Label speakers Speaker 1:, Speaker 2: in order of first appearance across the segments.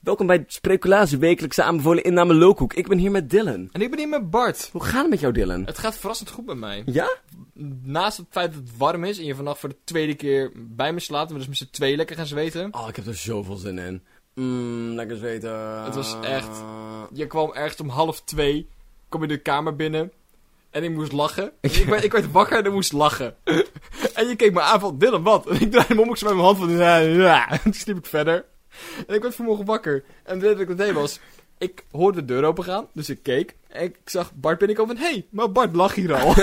Speaker 1: welkom bij Spreekulase wekelijkse aanbevolen inname Lookhoek. Ik ben hier met Dylan.
Speaker 2: En ik ben hier met Bart.
Speaker 1: Hoe gaat het met jou, Dylan?
Speaker 2: Het gaat verrassend goed met mij.
Speaker 1: Ja?
Speaker 2: Naast het feit dat het warm is en je vannacht voor de tweede keer bij me slaapt, en we dus met z'n twee lekker gaan zweten.
Speaker 1: Oh, ik heb er zoveel zin in. Mmm, lekker zweten.
Speaker 2: Het was echt- Je kwam ergens om half twee, kom je de kamer binnen en ik moest lachen. Ik, werd, ik werd wakker en ik moest lachen. en je keek me aan van, Dylan, wat? En ik draaide mijn om, ik zei met mijn hand van, ja, ja. En toen sliep ik verder. En ik werd vanmorgen wakker. En weet wat ik deed was, ik hoorde de deur opengaan, dus ik keek. En ik zag Bart binnenkomen van, hé, hey, maar Bart lag hier al.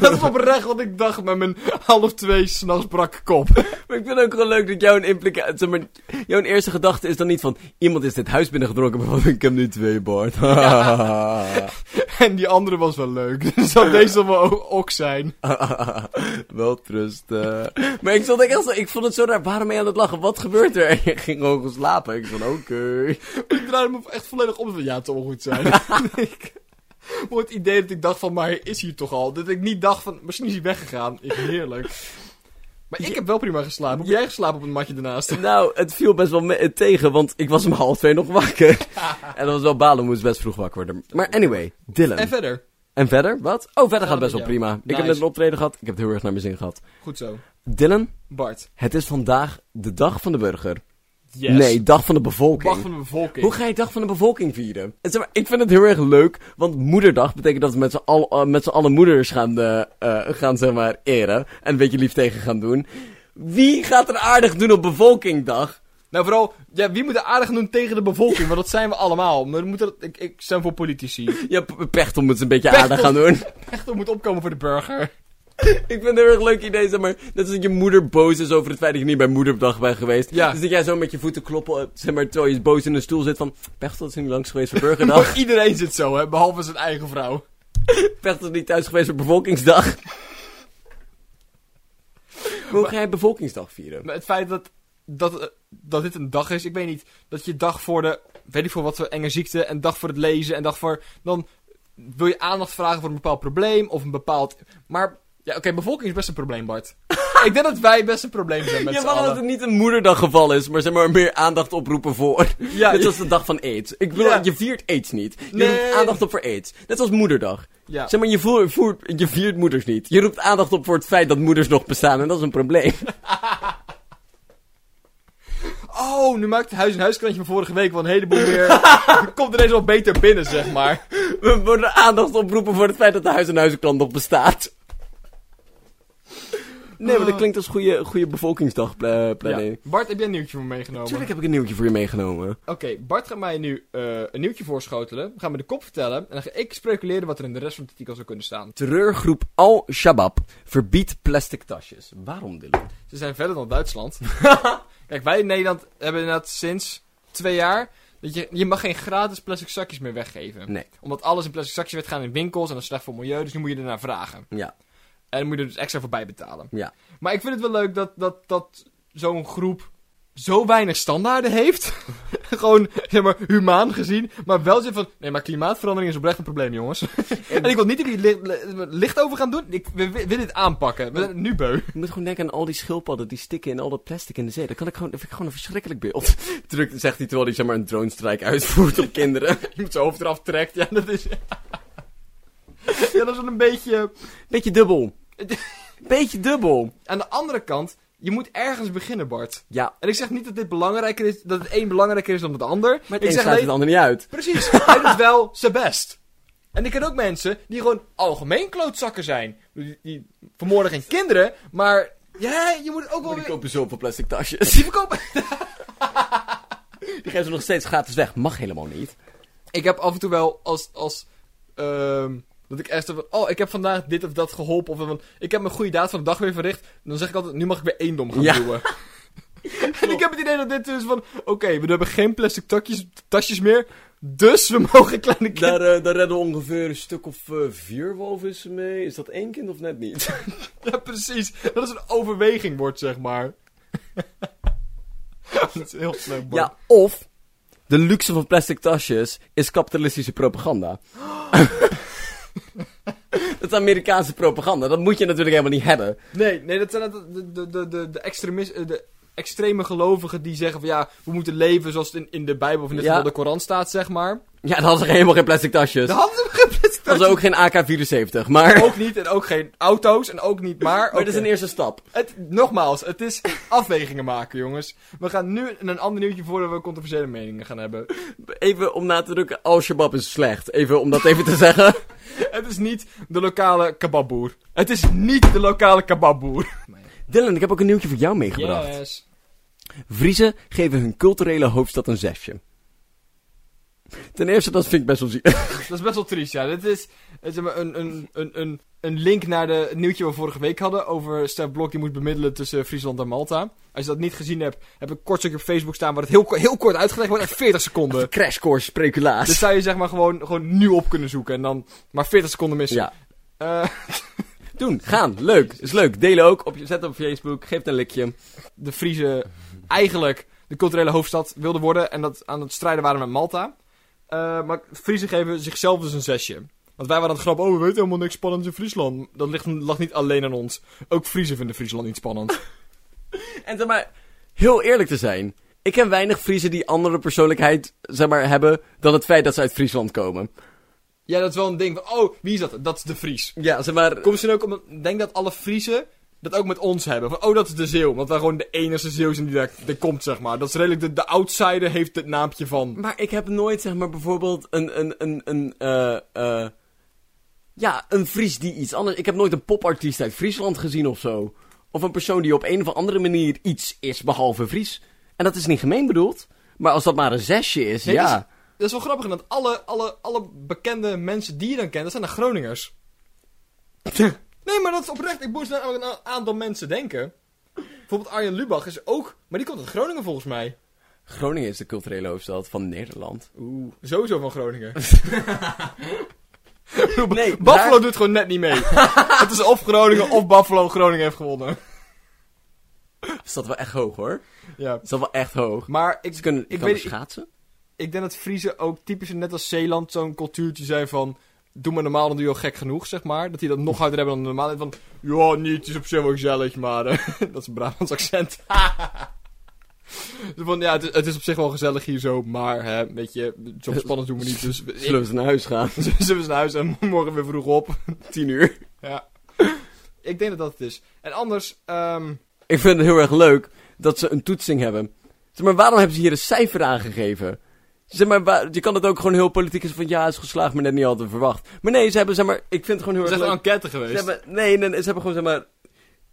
Speaker 2: dat is oprecht wat ik dacht met mijn half twee s'nachts brakke kop.
Speaker 1: Maar ik vind het ook gewoon leuk dat jouw een implica- zeg maar, jouw eerste gedachte is dan niet van... Iemand is dit huis binnengedronken, maar van, ik heb nu twee, Bart.
Speaker 2: En die andere was wel leuk. Dus zou deze dan wel o- ok zijn.
Speaker 1: Wel trusten. maar ik, zat echt, zo- ik vond het zo raar. Waarom ben je aan het lachen? Wat gebeurt er? En je ging gewoon gaan slapen. Ik van, oké.
Speaker 2: Ik draaide me echt volledig om. Van, ja, het zal wel goed zijn. ik, maar het idee dat ik dacht van, maar hij is hier toch al. Dat ik niet dacht van, misschien is hij weggegaan. Ik, heerlijk. Maar ik heb wel prima geslapen. Hoe heb jij geslapen op het matje daarnaast?
Speaker 1: Nou, het viel best wel me- tegen, want ik was om half twee nog wakker. en dat was wel balen, moest best vroeg wakker worden. Maar anyway, Dylan.
Speaker 2: En verder.
Speaker 1: En verder? Wat? Oh, verder gaat best wel
Speaker 2: Ja.
Speaker 1: prima. Ik heb
Speaker 2: Nice.
Speaker 1: net een optreden gehad. Ik heb het heel erg naar mijn zin gehad.
Speaker 2: Goed zo.
Speaker 1: Dylan,
Speaker 2: Bart.
Speaker 1: het is vandaag de dag van de burger.
Speaker 2: Yes.
Speaker 1: Nee, dag van de bevolking.
Speaker 2: Wacht van de bevolking.
Speaker 1: Hoe ga je dag van de bevolking vieren? En zeg maar, ik vind het heel erg leuk, want moederdag betekent dat we met z'n allen, eh, met z'n allen moeders gaan, eh, eh, gaan zeg maar, eren. En een beetje lief tegen gaan doen. Wie gaat er aardig doen op bevolkingdag?
Speaker 2: Nou, vooral, ja, wie moet er aardig aan doen tegen de bevolking? Want dat zijn we allemaal. Maar dan moet er, ik, ik stem voor politici.
Speaker 1: Ja, P- Pechtel moet ze een beetje
Speaker 2: Pechtel.
Speaker 1: aardig gaan doen.
Speaker 2: Echt, er moet opkomen voor de burger.
Speaker 1: Ik vind het een heel erg leuk idee, zeg maar. Net als dat je moeder boos is over het feit dat je niet bij moederdag bent geweest.
Speaker 2: Ja.
Speaker 1: Dus dat jij zo met je voeten kloppen, eh, zeg maar, terwijl je boos in een stoel zit van... Pechtel is niet langs geweest voor burgerdag.
Speaker 2: Iedereen zit zo, hè, behalve zijn eigen vrouw.
Speaker 1: Pechtel is niet thuis geweest voor bevolkingsdag. Maar Hoe ga jij bevolkingsdag vieren?
Speaker 2: Maar het feit dat, dat, eh, dat dit een dag is, ik weet niet. Dat je dag voor de, weet ik voor wat voor enge ziekte, en dag voor het lezen, en dag voor. Dan wil je aandacht vragen voor een bepaald probleem of een bepaald. Maar, ja, oké, bevolking is best een probleem, Bart. ik denk dat wij best een probleem zijn met
Speaker 1: Ja,
Speaker 2: z'n
Speaker 1: wel dat
Speaker 2: allen.
Speaker 1: het niet een moederdaggeval is, maar zeg maar meer aandacht oproepen voor.
Speaker 2: Ja,
Speaker 1: Net
Speaker 2: ja.
Speaker 1: als de dag van aids. Ik bedoel,
Speaker 2: Ja.
Speaker 1: je viert aids niet. Je
Speaker 2: Nee.
Speaker 1: roept aandacht op voor aids. Net als moederdag.
Speaker 2: Ja.
Speaker 1: Zeg maar, je, voer- voert, je viert moeders niet. Je roept aandacht op voor het feit dat moeders nog bestaan en dat is een probleem.
Speaker 2: Oh, nu maakt het huis en huiskrantje van vorige week wel een heleboel meer. Komt er eens wel beter binnen, zeg maar.
Speaker 1: We worden aandacht oproepen voor het feit dat de huis- en huizenklant nog bestaat. Nee, maar dat
Speaker 2: Ah.
Speaker 1: klinkt als goede, goede bevolkingsdagplanning.
Speaker 2: Ja. Bart, heb jij een nieuwtje voor me meegenomen?
Speaker 1: eh, Tuurlijk heb ik een nieuwtje voor je meegenomen.
Speaker 2: Oké, Bart gaat mij nu eh, een nieuwtje voorschotelen. Gaat me de kop vertellen. En dan ga ik speculeren wat er in de rest van het artikel zou kunnen staan.
Speaker 1: Terreurgroep Al-Shabaab verbiedt plastic tasjes. Waarom, Dylan?
Speaker 2: Ze zijn verder dan Duitsland. Kijk, wij in Nederland hebben inderdaad sinds twee jaar... Dat je, je mag geen gratis plastic zakjes meer weggeven.
Speaker 1: Nee.
Speaker 2: Omdat alles in plastic zakjes werd gaan in winkels en dat is slecht voor het milieu. Dus nu moet je ernaar vragen.
Speaker 1: Ja,
Speaker 2: En dan moet je er dus extra voor bijbetalen.
Speaker 1: ja.
Speaker 2: Maar ik vind het wel leuk dat, dat, dat zo'n groep zo weinig standaarden heeft. Gewoon, zeg maar, humaan gezien. Maar wel zin van, nee, maar klimaatverandering is oprecht een probleem, jongens. en ik wil niet dat we hier licht, li- licht over gaan doen. Ik we- we- wil dit aanpakken. We zijn het nu beu.
Speaker 1: Ik moet gewoon denken aan al die schildpadden die stikken in al dat plastic in de zee. Dat, kan ik gewoon, dat vind ik gewoon een verschrikkelijk beeld. Druk, zegt hij terwijl hij zeg maar een drone-strijk uitvoert op kinderen.
Speaker 2: Je moet zijn hoofd eraf trekt. Ja, dat is... ja, dat is wel een beetje...
Speaker 1: Beetje dubbel. Beetje dubbel.
Speaker 2: Aan de andere kant, je moet ergens beginnen, Bart.
Speaker 1: Ja,
Speaker 2: En ik zeg niet dat dit belangrijker is, dat het een belangrijker is dan het ander.
Speaker 1: maar
Speaker 2: ik
Speaker 1: het een
Speaker 2: zeg
Speaker 1: sluit het ander niet uit.
Speaker 2: Precies, hij doet wel zijn best. En ik ken ook mensen die gewoon algemeen klootzakken zijn. Die, die vermoorden geen kinderen, maar ja, je moet het ook wel
Speaker 1: Die
Speaker 2: weer...
Speaker 1: kopen dus zoveel plastic tasjes.
Speaker 2: Die verkopen...
Speaker 1: Die geven ze nog steeds gratis weg. Mag helemaal niet.
Speaker 2: Ik heb af en toe wel als... als ehm, dat ik echt zo van, oh, ik heb vandaag dit of dat geholpen. Of van, ik heb mijn goede daad van de dag weer verricht. Dan zeg ik altijd, nu mag ik weer eendom gaan
Speaker 1: Ja.
Speaker 2: duwen. en ik heb het idee dat dit dus van, oké, we hebben geen plastic takjes, tasjes meer. Dus we mogen kleine kinderen...
Speaker 1: Daar, eh, daar redden we ongeveer een stuk of eh, vier walvissen mee. Is dat één kind of net niet?
Speaker 2: Ja, precies. Dat is een overweging wordt, zeg maar. dat is heel slecht, man.
Speaker 1: Ja, of de luxe van plastic tasjes is kapitalistische propaganda. dat is Amerikaanse propaganda. Dat moet je natuurlijk helemaal niet hebben.
Speaker 2: Nee, nee, dat zijn de, de, de, de, de extremis- eh, de extreme gelovigen die zeggen van ja, we moeten leven zoals het in, in de Bijbel of in dit
Speaker 1: Ja.
Speaker 2: geval de Koran staat, zeg maar.
Speaker 1: Ja, dan hadden ze helemaal geen plastic tasjes.
Speaker 2: De
Speaker 1: Dat
Speaker 2: handen geplitst.
Speaker 1: was ook geen AK-74, maar...
Speaker 2: Ook niet en ook geen auto's en ook niet maar.
Speaker 1: Maar dit is
Speaker 2: Oké.
Speaker 1: een eerste stap.
Speaker 2: het, nogmaals, het is afwegingen maken, jongens. We gaan nu een ander nieuwtje voordat we controversiële meningen gaan hebben.
Speaker 1: Even om na te drukken, Al-Shabaab is slecht. Even om dat even te zeggen.
Speaker 2: Het is niet de lokale kebabboer. Het is niet de lokale kebabboer.
Speaker 1: Dylan, ik heb ook een nieuwtje voor jou meegebracht. Vriezen geven hun culturele hoofdstad een zesje. Ten eerste, dat vind ik best wel zie.
Speaker 2: Dat is best wel triest, ja. Dit is, het is een, een, een, een, een link naar de het nieuwtje we vorige week hadden over Stef Blok die moet bemiddelen tussen Friesland en Malta. Als je dat niet gezien hebt, heb ik een kort stukje op Facebook staan waar het heel, ko- heel kort uitgelegd wordt, echt 40 seconden.
Speaker 1: Crash course speculaas.
Speaker 2: Dus zou je zeg maar gewoon, gewoon nu op kunnen zoeken en dan maar 40 seconden missen.
Speaker 1: Ja.
Speaker 2: Eh,
Speaker 1: Doen, gaan, leuk, is leuk. Delen ook, op, je- zet op Facebook, geef het een likje.
Speaker 2: de Friese eigenlijk de culturele hoofdstad wilden worden. En dat aan het strijden waren met Malta. Eh, maar Friese geven zichzelf dus een zesje. Want wij waren aan het grap, oh we weten helemaal niks spannends in Friesland. Dat ligt, lag niet alleen aan ons. Ook Friese vinden Friesland niet spannend.
Speaker 1: En zeg maar, heel eerlijk te zijn. Ik ken weinig Friesen die andere persoonlijkheid, zeg maar, hebben dan het feit dat ze uit Friesland komen.
Speaker 2: ja, dat is wel een ding van, oh wie is dat? Dat is de Fries.
Speaker 1: Ja, zeg maar...
Speaker 2: Komt ze ook om, ik denk dat alle Friese dat ook met ons hebben. Van, oh dat is de Zeeuw. Want wij gewoon de enige Zeeuw zijn die daar, daar komt, zeg maar. Dat is redelijk, de, de outsider heeft het naampje van.
Speaker 1: Maar ik heb nooit, zeg maar, bijvoorbeeld een, een, een, een, eh, eh, ja, een Fries die iets anders... Ik heb nooit een popartiest uit Friesland gezien of zo. Of een persoon die op een of andere manier iets is, behalve Fries. En dat is niet gemeen bedoeld. Maar als dat maar een zesje is,
Speaker 2: Nee,
Speaker 1: ja.
Speaker 2: dat is- Dat is wel grappig, want alle, alle, alle bekende mensen die je dan kent, dat zijn de Groningers. nee, maar dat is oprecht. Ik moest namelijk een a- aantal mensen denken. Bijvoorbeeld Arjen Lubach is ook... Maar die komt uit Groningen volgens mij.
Speaker 1: Groningen is de culturele hoofdstad van Nederland.
Speaker 2: Oeh. Sowieso van Groningen.
Speaker 1: Nee,
Speaker 2: Buffalo
Speaker 1: daar-
Speaker 2: doet gewoon net niet mee. Het is of Groningen of Buffalo Groningen heeft gewonnen.
Speaker 1: Is dat wel echt hoog, hoor.
Speaker 2: Ja.
Speaker 1: Is dat wel echt hoog.
Speaker 2: Maar ik,
Speaker 1: Ze kunnen,
Speaker 2: ik,
Speaker 1: kan
Speaker 2: weet, ik,
Speaker 1: schaatsen.
Speaker 2: ik denk dat Friese ook typisch, net als Zeeland, zo'n cultuurtje zijn van... Doe maar normaal, dan doe je al gek genoeg, zeg maar. Dat die dat nog harder hebben dan normaal. Van, ja, niet, het is op zich wel gezellig, maar... eh, dat is een Brabants accent. Dus van, ja, het is, het is op zich wel gezellig hier zo, maar... Hè, weet je, zo spannend doen we niet, dus... we-
Speaker 1: Zullen we naar huis gaan?
Speaker 2: Zullen we eens naar huis en morgen weer vroeg op?
Speaker 1: Tien uur.
Speaker 2: Ja. Ik denk dat dat het is. En anders, ehm,
Speaker 1: Ik vind het heel erg leuk dat ze een toetsing hebben. Zeg maar, waarom hebben ze hier een cijfer aangegeven? Zeg maar, waar- je kan het ook gewoon heel politiek is van ja, is geslaagd, maar net niet altijd verwacht. Maar nee, ze hebben, zeg maar, ik vind het gewoon heel
Speaker 2: is
Speaker 1: erg
Speaker 2: echt een
Speaker 1: leuk.
Speaker 2: enquête
Speaker 1: Ze
Speaker 2: geweest.
Speaker 1: hebben, nee, nee, nee, ze hebben gewoon, zeg maar,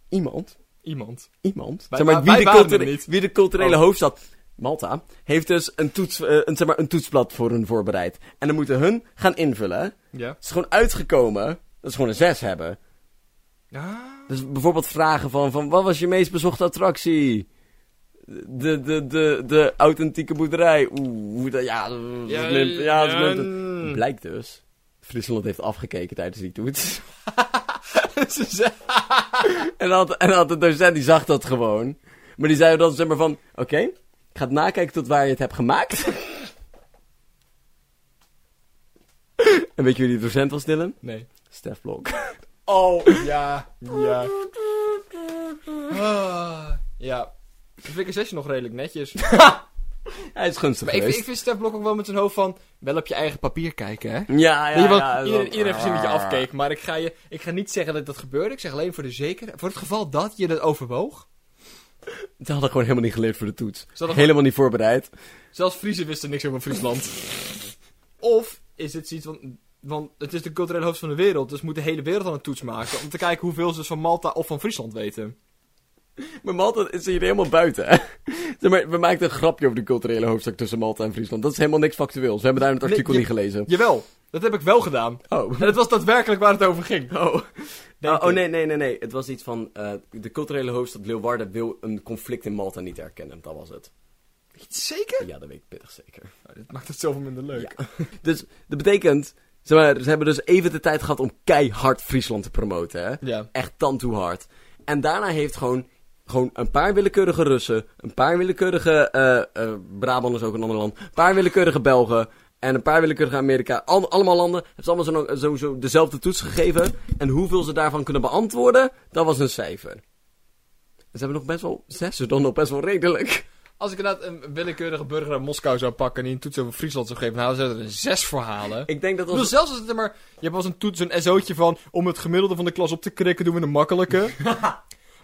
Speaker 1: iemand,
Speaker 2: Iemand.
Speaker 1: iemand,
Speaker 2: Wij-
Speaker 1: zeg maar,
Speaker 2: wij-
Speaker 1: wie,
Speaker 2: wij
Speaker 1: de
Speaker 2: waren
Speaker 1: culture-
Speaker 2: er niet.
Speaker 1: wie de culturele
Speaker 2: Oh.
Speaker 1: hoofdstad, Malta, heeft dus een, toets, eh, een, zeg maar, een toetsblad voor hun voorbereid. En dan moeten hun gaan invullen. Het
Speaker 2: Ja.
Speaker 1: is gewoon uitgekomen dat ze gewoon een 6 hebben. Dus bijvoorbeeld vragen van, van wat was je meest bezochte attractie? De, de, de, de authentieke boerderij. Oeh, hoe dat- ja, dat is
Speaker 2: Ja,
Speaker 1: limp. Ja, dat is
Speaker 2: ja,
Speaker 1: limp.
Speaker 2: mm.
Speaker 1: Blijkt dus. Friesland heeft afgekeken tijdens die toets.
Speaker 2: Ze zeggen-
Speaker 1: en, dan had, en dan had de docent, die zag dat gewoon. Maar die zei dan zeg maar van, oké, ik ga het nakijken tot waar je het hebt gemaakt. en weet je wie die docent was, Dylan?
Speaker 2: Nee.
Speaker 1: Stef Blok.
Speaker 2: Oh, ja. Ja. Ah, ja. Ik vind ik een zesje nog redelijk netjes. Maar
Speaker 1: Hij is gunstig
Speaker 2: ik, vind-
Speaker 1: geweest.
Speaker 2: ik vind Stef Blok ook wel met zijn hoofd van... Wel op je eigen papier kijken, hè?
Speaker 1: Ja, ja,
Speaker 2: Weet je wel,
Speaker 1: ja.
Speaker 2: iedereen, iedereen heeft gezien dat Ah. je
Speaker 1: Ah.
Speaker 2: afkeek, maar ik ga, je, ik ga niet zeggen dat dat gebeurde. Ik zeg alleen voor de zekerheid. Voor het geval dat je dat overwoog.
Speaker 1: Ze hadden gewoon helemaal niet geleerd voor de toets. Ze
Speaker 2: hadden
Speaker 1: hadden helemaal niet voorbereid.
Speaker 2: Zelfs Friese wisten niks over Friesland. of is dit zoiets van... Want het is de culturele hoofdstad van de wereld, dus moet de hele wereld aan een toets maken. Om te kijken hoeveel ze dus van Malta of van Friesland weten.
Speaker 1: Maar Malta is hier helemaal buiten. hè. Zeg maar, we maakten een grapje over de culturele hoofdstuk tussen Malta en Friesland. Dat is helemaal niks factueels. We hebben daar in het
Speaker 2: Nee,
Speaker 1: artikel
Speaker 2: je-
Speaker 1: niet gelezen.
Speaker 2: Jawel, dat heb ik wel gedaan.
Speaker 1: Oh.
Speaker 2: En het was daadwerkelijk waar het over ging.
Speaker 1: Oh.
Speaker 2: Denk
Speaker 1: oh
Speaker 2: ik.
Speaker 1: nee, nee, nee, nee. Het was iets van. eh, de culturele hoofdstad Leeuwarden wil een conflict in Malta niet erkennen. Dat was het.
Speaker 2: Zeker?
Speaker 1: Ja, dat weet ik pittig zeker.
Speaker 2: Oh, dit maakt het zoveel minder leuk.
Speaker 1: Ja. Dus dat betekent. Zeg maar, ze hebben dus even de tijd gehad om keihard Friesland te promoten. Hè?
Speaker 2: Ja.
Speaker 1: Echt tand toe hard. En daarna heeft gewoon, gewoon een paar willekeurige Russen, een paar willekeurige eh eh, Brabant is ook een ander land, een paar willekeurige Belgen en een paar willekeurige Amerika. Al- allemaal landen hebben ze allemaal zo'n- eh, sowieso dezelfde toets gegeven. En hoeveel ze daarvan kunnen beantwoorden, dat was een cijfer. Ze hebben nog best wel... Zes is dan nog best wel redelijk.
Speaker 2: Als ik inderdaad een willekeurige burger uit Moskou zou pakken en die een toets over Friesland zou geven, dan hadden ze er een 6 voor halen. Ik
Speaker 1: Ik denk dat
Speaker 2: bedoel,
Speaker 1: als...
Speaker 2: zelfs als het er maar... Je hebt wel eens een toets, een SO'tje van... Om het gemiddelde van de klas op te krikken doen we een makkelijke.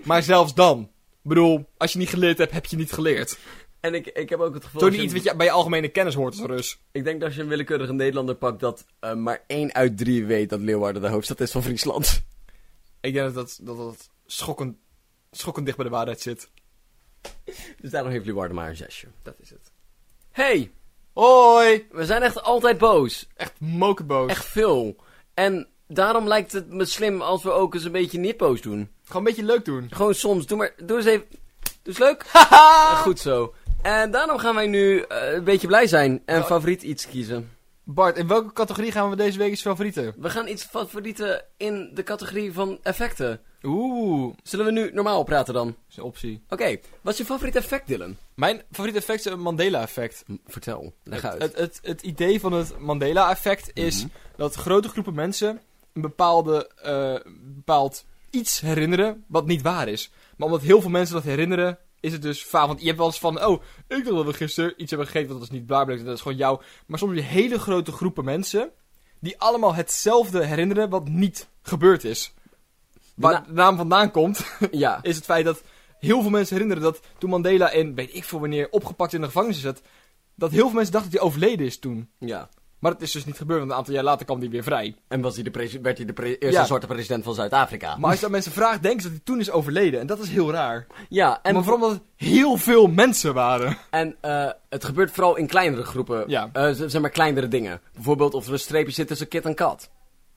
Speaker 2: maar zelfs dan. Ik bedoel, als je niet geleerd hebt, heb je niet geleerd.
Speaker 1: En ik, ik heb ook het gevoel...
Speaker 2: Toon
Speaker 1: als
Speaker 2: niet
Speaker 1: je-
Speaker 2: iets wat je bij je algemene kennis hoort als Rus.
Speaker 1: Ik denk dat als je een willekeurige Nederlander pakt, dat eh, maar één uit drie weet dat Leeuwarden de hoofdstad is van Friesland.
Speaker 2: Ik denk dat dat, dat, dat schokkend, schokkend dicht bij de waarheid zit.
Speaker 1: Dus daarom heeft Leeuwarden maar een zesje.
Speaker 2: Dat is het.
Speaker 1: hey,
Speaker 2: Hoi!
Speaker 1: we zijn echt altijd boos.
Speaker 2: Echt mokerboos.
Speaker 1: Echt veel. En daarom lijkt het me slim als we ook eens een beetje niet boos doen.
Speaker 2: Gewoon een beetje leuk doen.
Speaker 1: Gewoon soms. Doe maar, doe eens even. Doe eens leuk. Eh, Goed zo. En daarom gaan wij nu eh, een beetje blij zijn en
Speaker 2: Nou,
Speaker 1: favoriet iets kiezen.
Speaker 2: Bart, in welke categorie gaan we deze week eens favorieten?
Speaker 1: We gaan iets favorieten in de categorie van effecten.
Speaker 2: Oeh,
Speaker 1: Zullen we nu normaal praten dan?
Speaker 2: is een optie.
Speaker 1: Oké, wat is je favoriet effect, Dylan?
Speaker 2: Mijn favoriete effect is het Mandela-effect.
Speaker 1: M- vertel, leg
Speaker 2: Het,
Speaker 1: uit. Mhm.
Speaker 2: het, het, het idee van het Mandela-effect is dat grote groepen mensen een bepaalde, eh, bepaald iets herinneren wat niet waar is. Maar omdat heel veel mensen dat herinneren, is het dus vaak. Want je hebt wel eens van, oh, ik dacht dat we gisteren iets hebben gegeten, want dat is niet waar, blijkt dat is gewoon jou. Maar soms heb je hele grote groepen mensen die allemaal hetzelfde herinneren wat niet gebeurd is. Waar
Speaker 1: na-
Speaker 2: de naam vandaan komt,
Speaker 1: ja.
Speaker 2: is het feit dat heel veel mensen herinneren dat toen Mandela in, weet ik veel wanneer, opgepakt in de gevangenis zat, dat heel veel mensen dachten dat hij overleden is toen.
Speaker 1: ja.
Speaker 2: Maar dat is dus niet gebeurd, want een aantal jaar later kwam hij weer vrij.
Speaker 1: En was hij de presi- werd hij de pre- eerste
Speaker 2: Ja.
Speaker 1: zwarte president van Zuid-Afrika.
Speaker 2: Maar als je dat mensen vraagt, denken ze dat hij toen is overleden. En dat is heel raar.
Speaker 1: Ja, en,
Speaker 2: maar vooral omdat het heel veel mensen waren.
Speaker 1: en eh, het gebeurt vooral in kleinere groepen.
Speaker 2: Ja.
Speaker 1: Eh, z- zeg maar kleinere dingen. Bijvoorbeeld of er een streepje zit tussen kit en kat.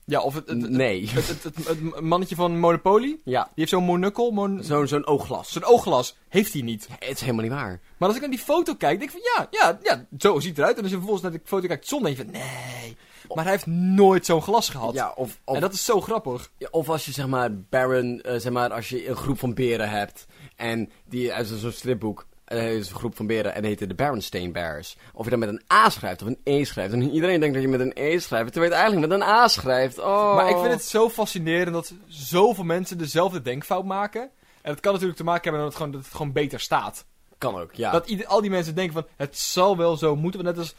Speaker 2: Ja, of het, het, het,
Speaker 1: nee.
Speaker 2: het, het- het- het mannetje van Monopoly, die
Speaker 1: ja,
Speaker 2: heeft zo'n monukkel, mon...
Speaker 1: zo'n zo'n oogglas.
Speaker 2: zo'n oogglas, heeft hij niet.
Speaker 1: Het is helemaal niet waar.
Speaker 2: Maar als ik naar die foto kijk, denk ik van ja, ja, ja, zo ziet het eruit. En als je vervolgens naar die foto kijkt zonder, denk je van nee. Maar hij heeft nooit zo'n glas gehad.
Speaker 1: Ja, of, of,
Speaker 2: En dat is zo grappig.
Speaker 1: ja, of als je zeg maar Baron, eh, zeg maar als je een groep van beren hebt. En die uit zo'n stripboek. eh, is een groep van beren en die heten de Berenstain Bears. Of je dan met een A schrijft of een E schrijft. En iedereen denkt dat je met een E schrijft. Terwijl je het eigenlijk met een A schrijft. Oh.
Speaker 2: Maar ik vind het zo fascinerend dat zoveel mensen dezelfde denkfout maken. En dat kan natuurlijk te maken hebben met dat het gewoon, dat het gewoon beter staat.
Speaker 1: Kan ook, ja.
Speaker 2: Dat ieder, al die mensen denken van, het zal wel zo moeten. Want net als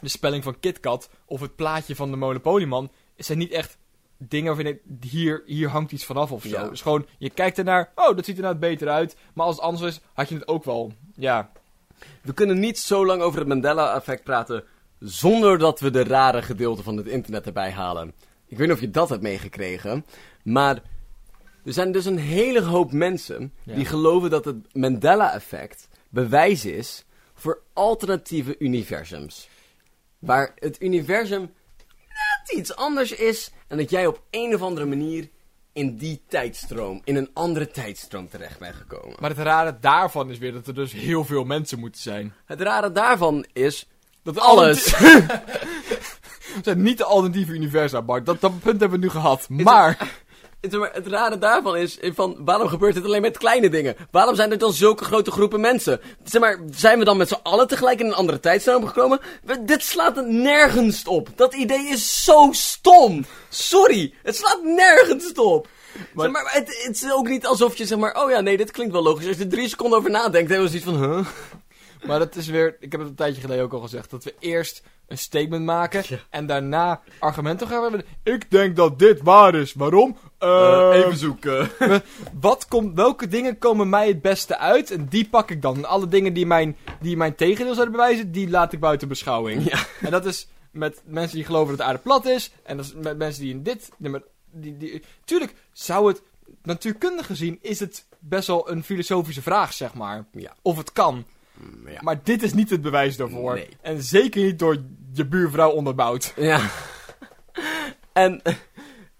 Speaker 2: de spelling van KitKat of het plaatje van de Monopolyman... Het zijn niet echt dingen waarvan je denkt, hier, hier hangt iets vanaf of zo.
Speaker 1: Ja.
Speaker 2: Het is gewoon, je kijkt ernaar, oh, dat ziet er nou beter uit. Maar als het anders is, had je het ook wel. Ja,
Speaker 1: We kunnen niet zo lang over het Mandela-effect praten zonder dat we de rare gedeelten van het internet erbij halen. Ik weet niet of je dat hebt meegekregen, maar er zijn dus een hele hoop mensen
Speaker 2: Ja.
Speaker 1: die geloven dat het Mandela-effect bewijs is voor alternatieve universums. Waar het universum net iets anders is en dat jij op een of andere manier in die tijdstroom, in een andere tijdstroom terecht bent gekomen.
Speaker 2: maar het rare daarvan is weer dat er dus heel veel mensen moeten zijn.
Speaker 1: Het rare daarvan is
Speaker 2: Dat
Speaker 1: alles.
Speaker 2: Het zijn niet de alternatieve universa, Bart. Dat, dat punt hebben we nu gehad. Maar,
Speaker 1: Het, maar het rare daarvan is, eh, van, waarom gebeurt het alleen met kleine dingen? Waarom zijn er dan zulke grote groepen mensen? Zeg maar, zijn we dan met z'n allen tegelijk in een andere tijdstroom gekomen? We- dit slaat het nergens op. Dat idee is zo stom. Sorry, het slaat nergens op. Maar, zeg maar, het, het is ook niet alsof je zeg maar, oh ja, nee, dit klinkt wel logisch. Als je er drie seconden over nadenkt, hebben we zoiets van, huh?
Speaker 2: maar dat is weer... Ik heb het een tijdje geleden ook al gezegd. Dat we eerst een statement maken. En daarna argumenten gaan hebben. Ik denk dat dit waar is. Waarom? Eh,
Speaker 1: zoeken.
Speaker 2: Wat komt, welke dingen komen mij het beste uit? En die pak ik dan. En alle dingen die mijn, die mijn tegendeel zouden bewijzen, die laat ik buiten beschouwing.
Speaker 1: Ja.
Speaker 2: En dat is met mensen die geloven dat de aarde plat is. En dat is met mensen die in dit... nee, maar die, die, tuurlijk zou het... Natuurkundig gezien is het best wel een filosofische vraag, zeg maar.
Speaker 1: Ja.
Speaker 2: Of het kan.
Speaker 1: Mm, ja.
Speaker 2: Maar dit is niet het bewijs daarvoor.
Speaker 1: Nee.
Speaker 2: En zeker niet door je buurvrouw onderbouwd.
Speaker 1: Ja. en,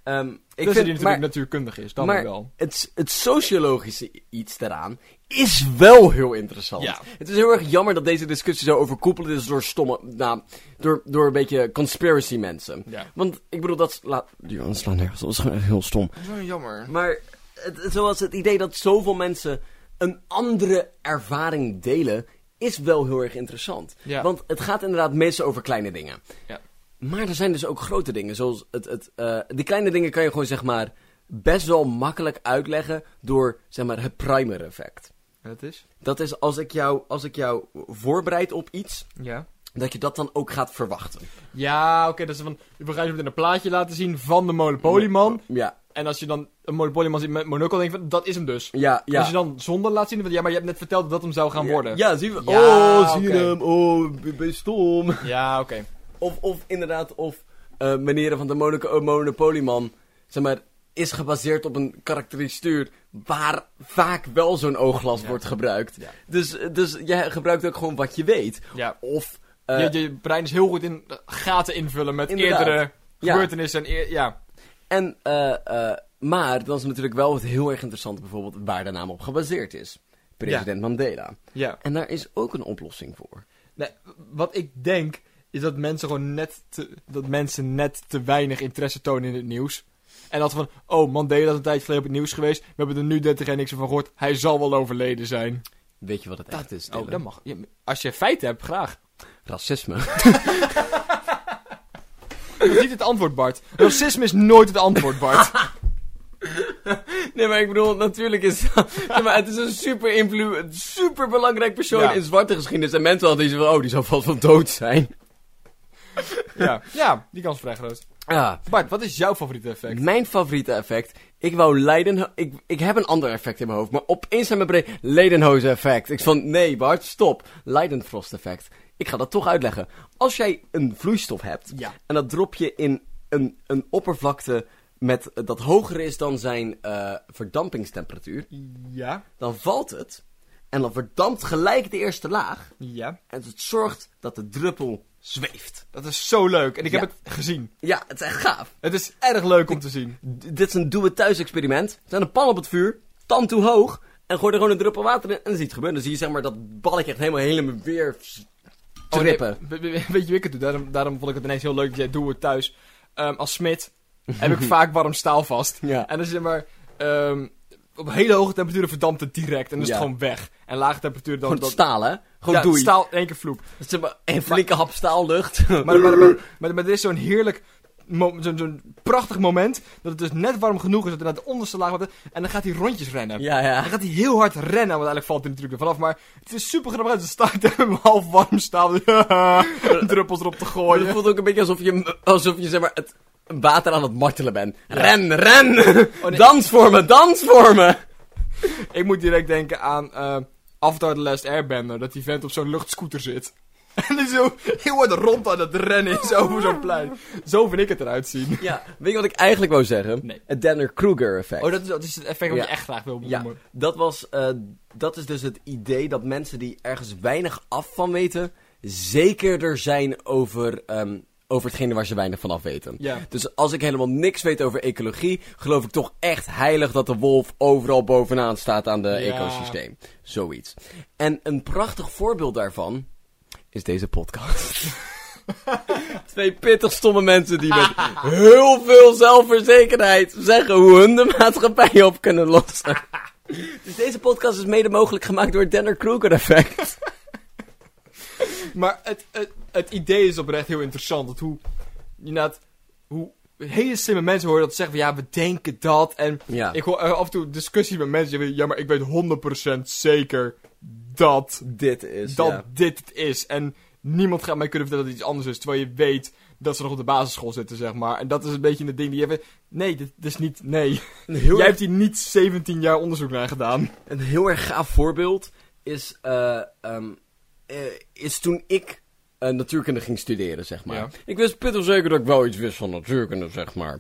Speaker 1: ehm, ik
Speaker 2: Ik dus
Speaker 1: vind,
Speaker 2: die natuurlijk
Speaker 1: maar-
Speaker 2: natuurkundig is, dan
Speaker 1: maar
Speaker 2: wel.
Speaker 1: Het, het sociologische i- iets daaraan is wel heel interessant.
Speaker 2: Ja.
Speaker 1: Het is heel erg jammer dat deze discussie zo overkoepeld is door stomme... Nou, door, door een beetje conspiracy mensen.
Speaker 2: Ja.
Speaker 1: Want ik bedoel, dat slaat... Ja, dat slaat nergens op. Dat is gewoon echt heel stom.
Speaker 2: Zo jammer.
Speaker 1: Maar het, het- zoals het idee dat zoveel mensen een andere ervaring delen, is wel heel erg interessant.
Speaker 2: Ja.
Speaker 1: Want het gaat inderdaad meestal over kleine dingen.
Speaker 2: Ja.
Speaker 1: Maar er zijn dus ook grote dingen, zoals het... het eh, die kleine dingen kan je gewoon zeg maar best wel makkelijk uitleggen door, zeg maar, het primer effect.
Speaker 2: Dat is?
Speaker 1: Dat is als ik jou, als ik jou voorbereid op iets,
Speaker 2: Ja.
Speaker 1: dat je dat dan ook gaat verwachten.
Speaker 2: Ja, oké, dat is van... We gaan je meteen een plaatje laten zien van de Monopolyman.
Speaker 1: Ja,
Speaker 2: En als je dan een Monopolyman ziet met Monocle, denk je van, dat is hem dus.
Speaker 1: ja, ja.
Speaker 2: Als je dan zonder laat zien, van, ja, maar je hebt net verteld dat dat hem zou gaan worden.
Speaker 1: Ja, zie je.
Speaker 2: Ja,
Speaker 1: oh, zie je
Speaker 2: oké.
Speaker 1: hem. Oh, ben- ben je stom.
Speaker 2: Ja, oké.
Speaker 1: Of, of inderdaad, of eh Meneren van de Monoc- eh, Monopolyman, zeg maar, is gebaseerd op een karakteristuur waar vaak wel zo'n oogglas
Speaker 2: Ja.
Speaker 1: wordt gebruikt.
Speaker 2: Ja.
Speaker 1: Dus, dus jij gebruikt ook gewoon wat je weet.
Speaker 2: Ja.
Speaker 1: Of, eh,
Speaker 2: je, je brein is heel goed in eh, gaten invullen met
Speaker 1: Inderdaad.
Speaker 2: eerdere
Speaker 1: Ja.
Speaker 2: gebeurtenissen. En eer- ja.
Speaker 1: en, eh, eh, maar dan is natuurlijk wel het heel erg interessante bijvoorbeeld waar de naam op gebaseerd is. President Mandela.
Speaker 2: ja.
Speaker 1: En daar is ook een oplossing voor.
Speaker 2: Nee, wat ik denk, is dat mensen gewoon net te, dat mensen net te weinig interesse tonen in het nieuws. En dat van, oh, Mandela is een tijdje geleden op het nieuws geweest. We hebben er nu 30 en niks van gehoord. Hij zal wel overleden zijn.
Speaker 1: Weet je wat het echt is? Dylan?
Speaker 2: Oh, dat mag. Ja, maar als je feiten hebt, graag.
Speaker 1: Racisme.
Speaker 2: Dat is niet het antwoord, Bart. Racisme is nooit het antwoord, Bart.
Speaker 1: Nee, maar ik bedoel, natuurlijk is dat... Ja, maar het is een super, influ- een super belangrijk persoon
Speaker 2: Ja.
Speaker 1: in zwarte geschiedenis. En mensen hadden iets van, oh, die zou vast wel dood zijn.
Speaker 2: ja. ja, die kans is vrij groot.
Speaker 1: Ja.
Speaker 2: Bart, wat is jouw favoriete effect?
Speaker 1: Mijn favoriete effect. Ik wou Leiden... Ik, ik heb een ander effect in mijn hoofd. Maar opeens zijn mijn brein... Leidenhoze effect. Ik van, nee Bart, stop. Leidenfrost effect. Ik ga dat toch uitleggen. Als jij een vloeistof hebt...
Speaker 2: Ja.
Speaker 1: En dat drop je in een, een oppervlakte met, dat hoger is dan zijn eh, verdampingstemperatuur.
Speaker 2: Ja,
Speaker 1: Dan valt het. En dan verdampt gelijk de eerste laag.
Speaker 2: ja.
Speaker 1: En het zorgt dat de druppel zweeft.
Speaker 2: Dat is zo leuk. En ik
Speaker 1: Ja.
Speaker 2: heb het gezien.
Speaker 1: Ja, het is echt gaaf.
Speaker 2: Het is erg leuk om te zien.
Speaker 1: D- dit is een doe-het-thuis-experiment. Zet een pan op het vuur, tand toe hoog... en gooi er gewoon een druppel water in en dan zie je het gebeuren. Dan zie je zeg maar dat balletje echt helemaal helemaal weer s- trippen.
Speaker 2: Oh, nee, we- we- we- weet je wie ik het doe? Daarom, daarom vond ik het ineens heel leuk dat jij doet het thuis. Ehm, als smid heb ik vaak warm staal vast.
Speaker 1: Ja.
Speaker 2: En dan zeg maar... ehm, op hele hoge temperaturen verdampt het direct. En dan is
Speaker 1: Ja.
Speaker 2: het gewoon weg. En lage temperaturen dan...
Speaker 1: Gewoon het
Speaker 2: dan
Speaker 1: staal, hè? Gewoon
Speaker 2: ja,
Speaker 1: doei.
Speaker 2: staal in één keer vloep.
Speaker 1: Zeg maar, een flinke hap staallucht.
Speaker 2: Maar, maar, maar, maar, maar er is zo'n heerlijk... mo- Zo'n zo'n prachtig moment. Dat het dus net warm genoeg is. Dat het naar de onderste laag wordt. En dan gaat hij rondjes rennen.
Speaker 1: ja,
Speaker 2: Dan
Speaker 1: ja.
Speaker 2: gaat hij heel hard rennen, want eigenlijk valt hij natuurlijk er vanaf. Maar het is super grappig uit. Ze staat hem hem half warm staan. druppels erop te
Speaker 1: Het
Speaker 2: gooien.
Speaker 1: voelt ook een beetje alsof je, alsof je zeg maar, het water aan het martelen bent. Ren, ren!
Speaker 2: Oh, nee.
Speaker 1: Dans voor me, dans voor me!
Speaker 2: Ik moet direct denken aan eh Avatar The Last Airbender. Dat die vent op zo'n luchtscooter zit. En dan zo heel hard rond aan het rennen is over zo'n plein. Zo vind ik het eruit zien.
Speaker 1: Ja, weet je wat ik eigenlijk wou zeggen?
Speaker 2: Nee.
Speaker 1: Het Danner-Kruger-effect.
Speaker 2: Oh, dat is, dat is het effect wat
Speaker 1: Ja.
Speaker 2: je echt graag wil
Speaker 1: Ja,
Speaker 2: benoemen.
Speaker 1: dat, was, eh, dat is dus het idee dat mensen die ergens weinig af van weten, zekerder zijn over, ehm, over hetgene waar ze weinig van af weten.
Speaker 2: Ja.
Speaker 1: Dus als ik helemaal niks weet over ecologie, geloof ik toch echt heilig dat de wolf overal bovenaan staat aan de
Speaker 2: Ja.
Speaker 1: ecosysteem. Zoiets. En een prachtig voorbeeld daarvan is deze podcast. Twee pittig stomme mensen die met heel veel zelfverzekerheid zeggen hoe hun de maatschappij op kunnen lossen. Dus deze podcast is mede mogelijk gemaakt door het Denner-Kruger-effect.
Speaker 2: Maar het, het, het idee is oprecht heel interessant. Dat hoe, inderdaad, hoe hele slimme mensen horen dat zeggen van ja, we denken dat. En
Speaker 1: Ja.
Speaker 2: ik hoor eh, af en toe discussies met mensen die zeggen, ja, maar ik weet 100% zeker dat,
Speaker 1: Dit is,
Speaker 2: dat
Speaker 1: ja.
Speaker 2: dit het is. En niemand gaat mij kunnen vertellen dat het iets anders is. Terwijl je weet dat ze nog op de basisschool zitten, zeg maar. En dat is een beetje het ding die je hebt. Nee, dit, dit is niet. Nee.
Speaker 1: Een heel,
Speaker 2: Jij
Speaker 1: erg,
Speaker 2: hebt hier niet 17 jaar onderzoek naar gedaan.
Speaker 1: een heel erg gaaf voorbeeld is, eh, ehm, eh, is toen ik eh, natuurkunde ging studeren, zeg maar.
Speaker 2: Ja.
Speaker 1: Ik wist pittig zeker dat ik wel iets wist van natuurkunde, zeg maar.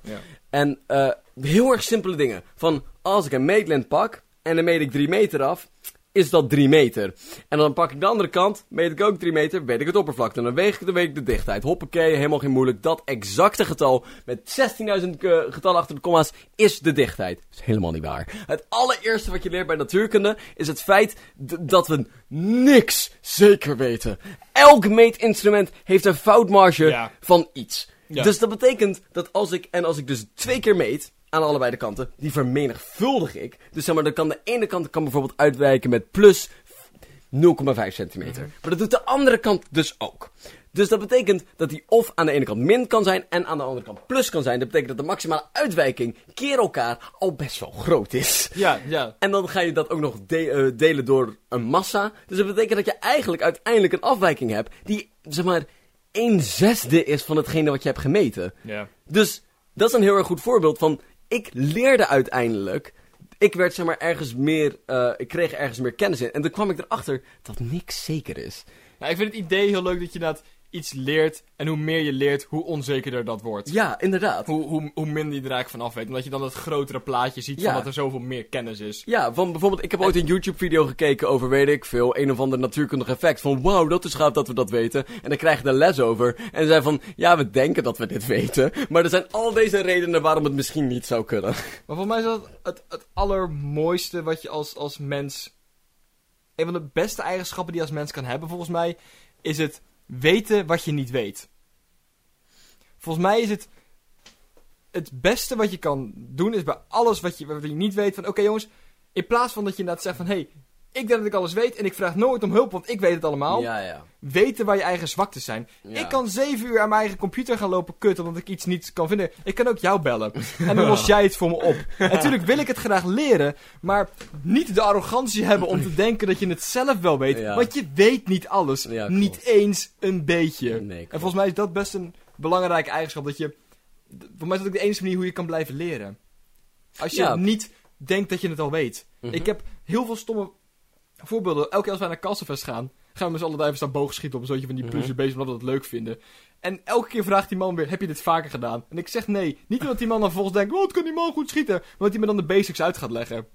Speaker 1: En eh, heel erg simpele dingen. Van als ik een meetlint pak en dan meet ik 3 meter af, is dat 3 meter. En dan pak ik de andere kant, meet ik ook 3 meter, weet ik het oppervlakte. En dan weeg ik, dan weeg ik de dichtheid. Hoppakee, helemaal geen moeilijk. Dat exacte getal met 16.000 ke- getallen achter de komma's is de dichtheid. Dat is helemaal niet waar. Het allereerste wat je leert bij natuurkunde is het feit d- dat we niks zeker weten. Elk meetinstrument heeft een foutmarge
Speaker 2: Ja.
Speaker 1: van iets.
Speaker 2: Ja.
Speaker 1: Dus dat betekent dat als ik, en als ik dus twee keer meet, aan allebei de kanten, die vermenigvuldig ik. Dus zeg maar, dan kan de ene kant kan bijvoorbeeld uitwijken met plus 0,5 centimeter.
Speaker 2: Mhm.
Speaker 1: Maar dat doet de andere kant dus ook. Dus dat betekent dat die of aan de ene kant min kan zijn en aan de andere kant plus kan zijn. Dat betekent dat de maximale uitwijking keer elkaar al best wel groot is.
Speaker 2: Ja, ja.
Speaker 1: En dan ga je dat ook nog de- eh, delen door een massa. Dus dat betekent dat je eigenlijk uiteindelijk een afwijking hebt die, zeg maar, 1 zesde is van hetgene wat je hebt gemeten.
Speaker 2: Ja.
Speaker 1: Dus dat is een heel erg goed voorbeeld van. Ik leerde uiteindelijk. Ik werd zeg maar ergens meer. eh, ik kreeg ergens meer kennis in. En toen kwam ik erachter dat niks zeker is.
Speaker 2: Nou, ik vind het idee heel leuk dat je dat iets leert. En hoe meer je leert, hoe onzekerder dat wordt.
Speaker 1: Ja, inderdaad.
Speaker 2: Hoe, hoe, hoe minder je er eigenlijk van af weet. Omdat je dan dat grotere plaatje ziet
Speaker 1: Ja.
Speaker 2: van dat er zoveel meer kennis is.
Speaker 1: Ja, van bijvoorbeeld, ik heb ooit een YouTube-video gekeken over, weet ik veel, een of ander natuurkundig effect. Van, wauw, dat is gaaf dat we dat weten. En dan krijg je daar les over. En ze zei van, ja, we denken dat we dit weten. Maar er zijn al deze redenen waarom het misschien niet zou kunnen.
Speaker 2: Maar volgens mij is dat het, het allermooiste wat je als, als mens... Een van de beste eigenschappen die je als mens kan hebben, volgens mij... Is het weten wat je niet weet. Volgens mij is het... Het beste wat je kan doen is bij alles wat je, wat je niet weet van... Oké jongens, in plaats van dat je inderdaad zegt van... Hé, hey, ik denk dat ik alles weet en ik vraag nooit om hulp, want ik weet het allemaal.
Speaker 1: Ja, ja.
Speaker 2: weten waar je eigen zwaktes zijn.
Speaker 1: Ja.
Speaker 2: Ik kan zeven uur aan mijn eigen computer gaan lopen kut omdat ik iets niet kan vinden. Ik kan ook jou bellen. En dan los jij het voor me op. En Natuurlijk wil ik het graag leren, maar niet de arrogantie hebben om te denken dat je het zelf wel weet.
Speaker 1: Ja.
Speaker 2: Want je weet niet alles.
Speaker 1: Ja, klopt.
Speaker 2: niet eens een
Speaker 1: Nee,
Speaker 2: beetje. en
Speaker 1: klopt.
Speaker 2: volgens mij is dat best een belangrijke eigenschap. Dat je, d- volgens mij is dat ook de enige manier hoe je kan blijven leren. Als je
Speaker 1: Ja.
Speaker 2: niet denkt dat je het al weet. Ik heb heel veel stomme voorbeelden. Elke keer als wij naar Kasselfest gaan, gaan we met z'n allen daar even staan boogschieten op een zootje van die puzzel bezig, omdat we dat leuk vinden. En elke keer vraagt die man weer, heb je dit vaker gedaan? En ik zeg nee. Niet omdat die man dan vervolgens denkt, wat kan die man goed schieten? Maar dat hij me dan de basics uit gaat leggen.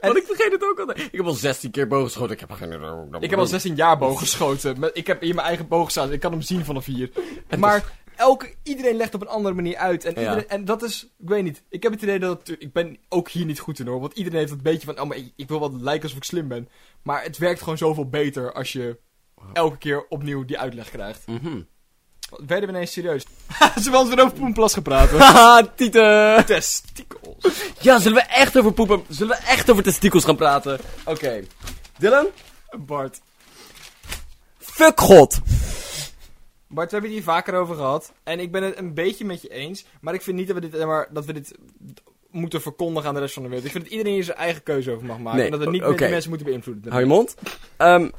Speaker 1: Want ik vergeet het ook altijd. Ik heb al 16 keer bogen geschoten. Ik heb geen...
Speaker 2: Ik heb al 16 jaar boog geschoten. Met- Ik heb hier mijn eigen boog staan. Ik kan hem zien vanaf hier. Maar elke, iedereen legt op een andere manier uit. En,
Speaker 1: Ja.
Speaker 2: iedereen- en dat is, ik weet niet. Ik heb het idee dat het- ik ben ook hier niet goed in hoor. Want iedereen heeft het beetje van, oh maar ik, ik wil wat lijken alsof ik slim ben. Maar het werkt gewoon zoveel beter als je elke keer opnieuw die uitleg krijgt.
Speaker 1: Mhm.
Speaker 2: Werden we ineens serieus? Ze hebben ons weer over Poenplas gepraat. hoor.
Speaker 1: Haha, Tieten!
Speaker 2: Testikels.
Speaker 1: Ja, zullen we echt over poepen... Zullen we echt over testikels gaan praten? Oké. Dylan?
Speaker 2: Bart.
Speaker 1: Fuck God!
Speaker 2: Bart, we hebben het hier vaker over gehad. En ik ben het een beetje met je eens. Maar ik vind niet dat we dit, eh, maar, dat we dit moeten verkondigen aan de rest van de wereld. Ik vind dat iedereen hier zijn eigen keuze over mag maken.
Speaker 1: Nee,
Speaker 2: en dat we niet
Speaker 1: o-
Speaker 2: meer
Speaker 1: oké.
Speaker 2: de mensen moeten beïnvloeden.
Speaker 1: Hou je mond. Ehm,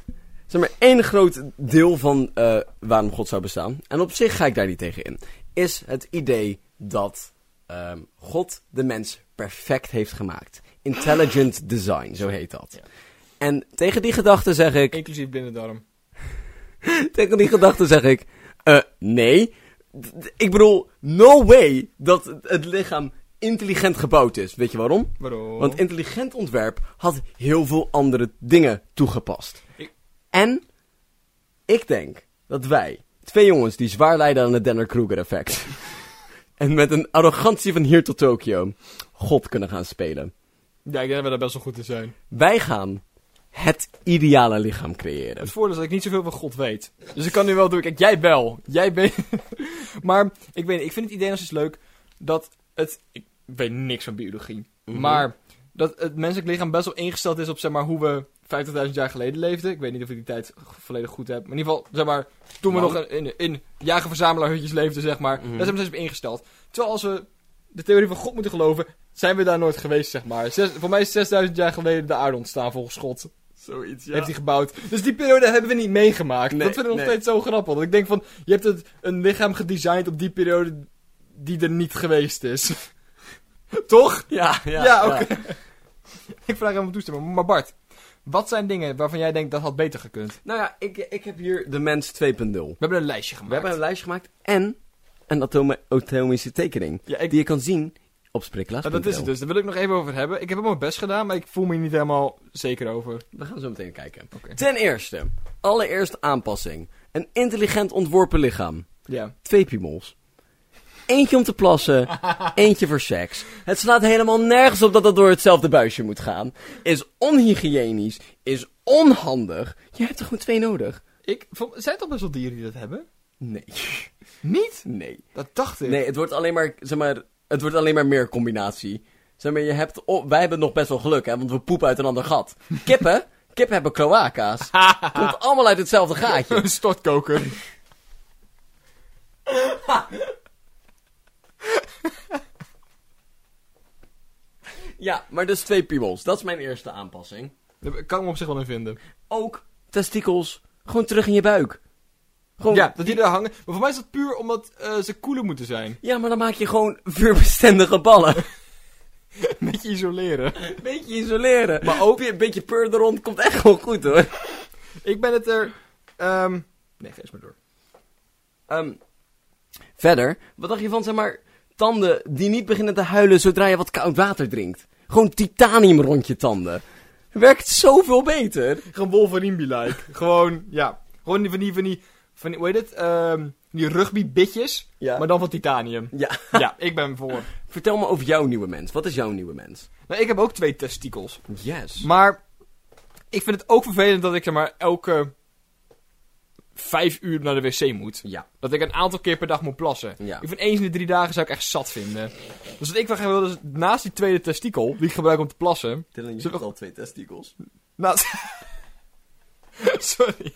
Speaker 1: zeg maar, één groot deel van eh, waarom God zou bestaan... en op zich ga ik daar niet tegen in... is het idee dat ehm, God de mens perfect heeft gemaakt. Intelligent design, zo heet dat.
Speaker 2: Ja.
Speaker 1: En tegen die gedachte zeg ik...
Speaker 2: Inclusief binnendarm.
Speaker 1: Tegen die gedachte zeg ik, eh, nee. D- d- Ik bedoel, no way dat het- het lichaam intelligent gebouwd is. Weet je waarom?
Speaker 2: Waarom?
Speaker 1: Want intelligent ontwerp had heel veel andere dingen toegepast.
Speaker 2: Ik-
Speaker 1: En ik denk dat wij, twee jongens die zwaar lijden aan het Denner-Kruger-effect... en met een arrogantie van hier tot Tokio God kunnen gaan spelen.
Speaker 2: Ja, ik denk dat we daar best wel goed in zijn.
Speaker 1: Wij gaan het ideale lichaam creëren.
Speaker 2: Het voordeel is dat ik niet zoveel van God weet. Dus ik kan nu wel doen. Kijk, jij wel. Jij bent... maar, ik weet niet. Ik vind het idee nog steeds leuk dat het... Ik weet niks van biologie.
Speaker 1: Mhm.
Speaker 2: Maar dat het menselijk lichaam best wel ingesteld is op, zeg maar, hoe we 50.000 jaar geleden leefden. Ik weet niet of ik die tijd g- volledig goed heb. Maar in ieder geval, zeg maar, toen we
Speaker 1: Nou.
Speaker 2: nog in, in jager-verzamelaarhutjes leefden, zeg maar.
Speaker 1: Mhm.
Speaker 2: Daar zijn we steeds op ingesteld. Terwijl als we de theorie van God moeten geloven, zijn we daar nooit geweest, zeg maar. Zes- voor mij is 6.000 jaar geleden de aarde ontstaan, volgens God.
Speaker 1: Zoiets,
Speaker 2: Heeft hij gebouwd. Dus die periode hebben we niet meegemaakt.
Speaker 1: Nee,
Speaker 2: dat vind ik nog
Speaker 1: nee.
Speaker 2: steeds zo grappig. Dat ik denk van, je hebt het, een lichaam gedesigned op die periode die er niet geweest is. Toch?
Speaker 1: Ja, ja,
Speaker 2: Ja, oké. ik vraag hem om toestemming. Maar Bart, wat zijn dingen waarvan jij denkt dat had beter gekund? We
Speaker 1: Nou ja, ik, ik heb hier de mens 2.0. We
Speaker 2: hebben een lijstje gemaakt.
Speaker 1: hebben een lijstje gemaakt en een atome- atomische tekening.
Speaker 2: Ja, ik...
Speaker 1: Die je kan zien op spriklaas.
Speaker 2: Ja, dat is het dus. Daar wil ik nog even over hebben. Ik heb helemaal mijn best gedaan, maar ik voel me hier niet helemaal zeker over.
Speaker 1: We gaan zo meteen kijken.
Speaker 2: Oké.
Speaker 1: Ten eerste, allereerst aanpassing. Een intelligent ontworpen lichaam.
Speaker 2: Ja.
Speaker 1: Twee piemels. Eentje om te plassen, eentje voor seks. Het slaat helemaal nergens op dat dat door hetzelfde buisje moet gaan. Is onhygiënisch, is onhandig. Je hebt er gewoon twee nodig?
Speaker 2: Ik, vo- zijn toch best wel dieren die dat hebben?
Speaker 1: Nee.
Speaker 2: Niet?
Speaker 1: Nee.
Speaker 2: Dat dacht ik.
Speaker 1: Nee, het wordt alleen maar, zeg maar, het wordt alleen maar meer combinatie. Zeg maar, je hebt, oh, wij hebben nog best wel geluk, hè, want we poepen uit een ander gat. Kippen, Kippen hebben cloaca's. Komt allemaal uit hetzelfde gaatje.
Speaker 2: Een stortkoker.
Speaker 1: Ja, maar dus twee piemels. Dat is mijn eerste aanpassing.
Speaker 2: Daar kan ik me op zich wel in vinden.
Speaker 1: Ook testikels. Gewoon terug in je buik. Gewoon,
Speaker 2: Ja, dat die er hangen. Maar voor mij is dat puur omdat eh, ze koeler moeten zijn.
Speaker 1: ja, maar dan maak je gewoon vuurbestendige ballen.
Speaker 2: Een beetje isoleren.
Speaker 1: Beetje isoleren. Maar ook een beetje peur er rond komt echt gewoon goed hoor.
Speaker 2: Ik ben het er... ehm, Nee, ga eens maar door.
Speaker 1: Ehm, verder, wat dacht je van zeg maar tanden die niet beginnen te huilen zodra je wat koud water drinkt? Gewoon titanium rond je tanden. Werkt zoveel beter.
Speaker 2: Gewoon Wolverine-like. Gewoon, ja. Gewoon die- van die, van die, van die hoe heet het? Ehm, die rugby-bitjes,
Speaker 1: Ja.
Speaker 2: maar dan van titanium.
Speaker 1: Ja.
Speaker 2: ja, ik ben voor.
Speaker 1: Vertel me over jouw nieuwe mens. Wat is jouw nieuwe mens?
Speaker 2: Nou, ik heb ook twee testikels.
Speaker 1: Yes.
Speaker 2: Maar ik vind het ook vervelend dat ik zeg maar elke vijf uur naar de wc moet.
Speaker 1: Ja.
Speaker 2: Dat ik een aantal keer per dag moet plassen.
Speaker 1: Ja.
Speaker 2: Ik vind eens in de drie dagen zou ik echt zat vinden. Dus wat ik wel graag wil, is naast die tweede testikel, die ik gebruik om te plassen...
Speaker 1: Dylan,
Speaker 2: je hebt
Speaker 1: al twee testikels.
Speaker 2: Naast... Sorry.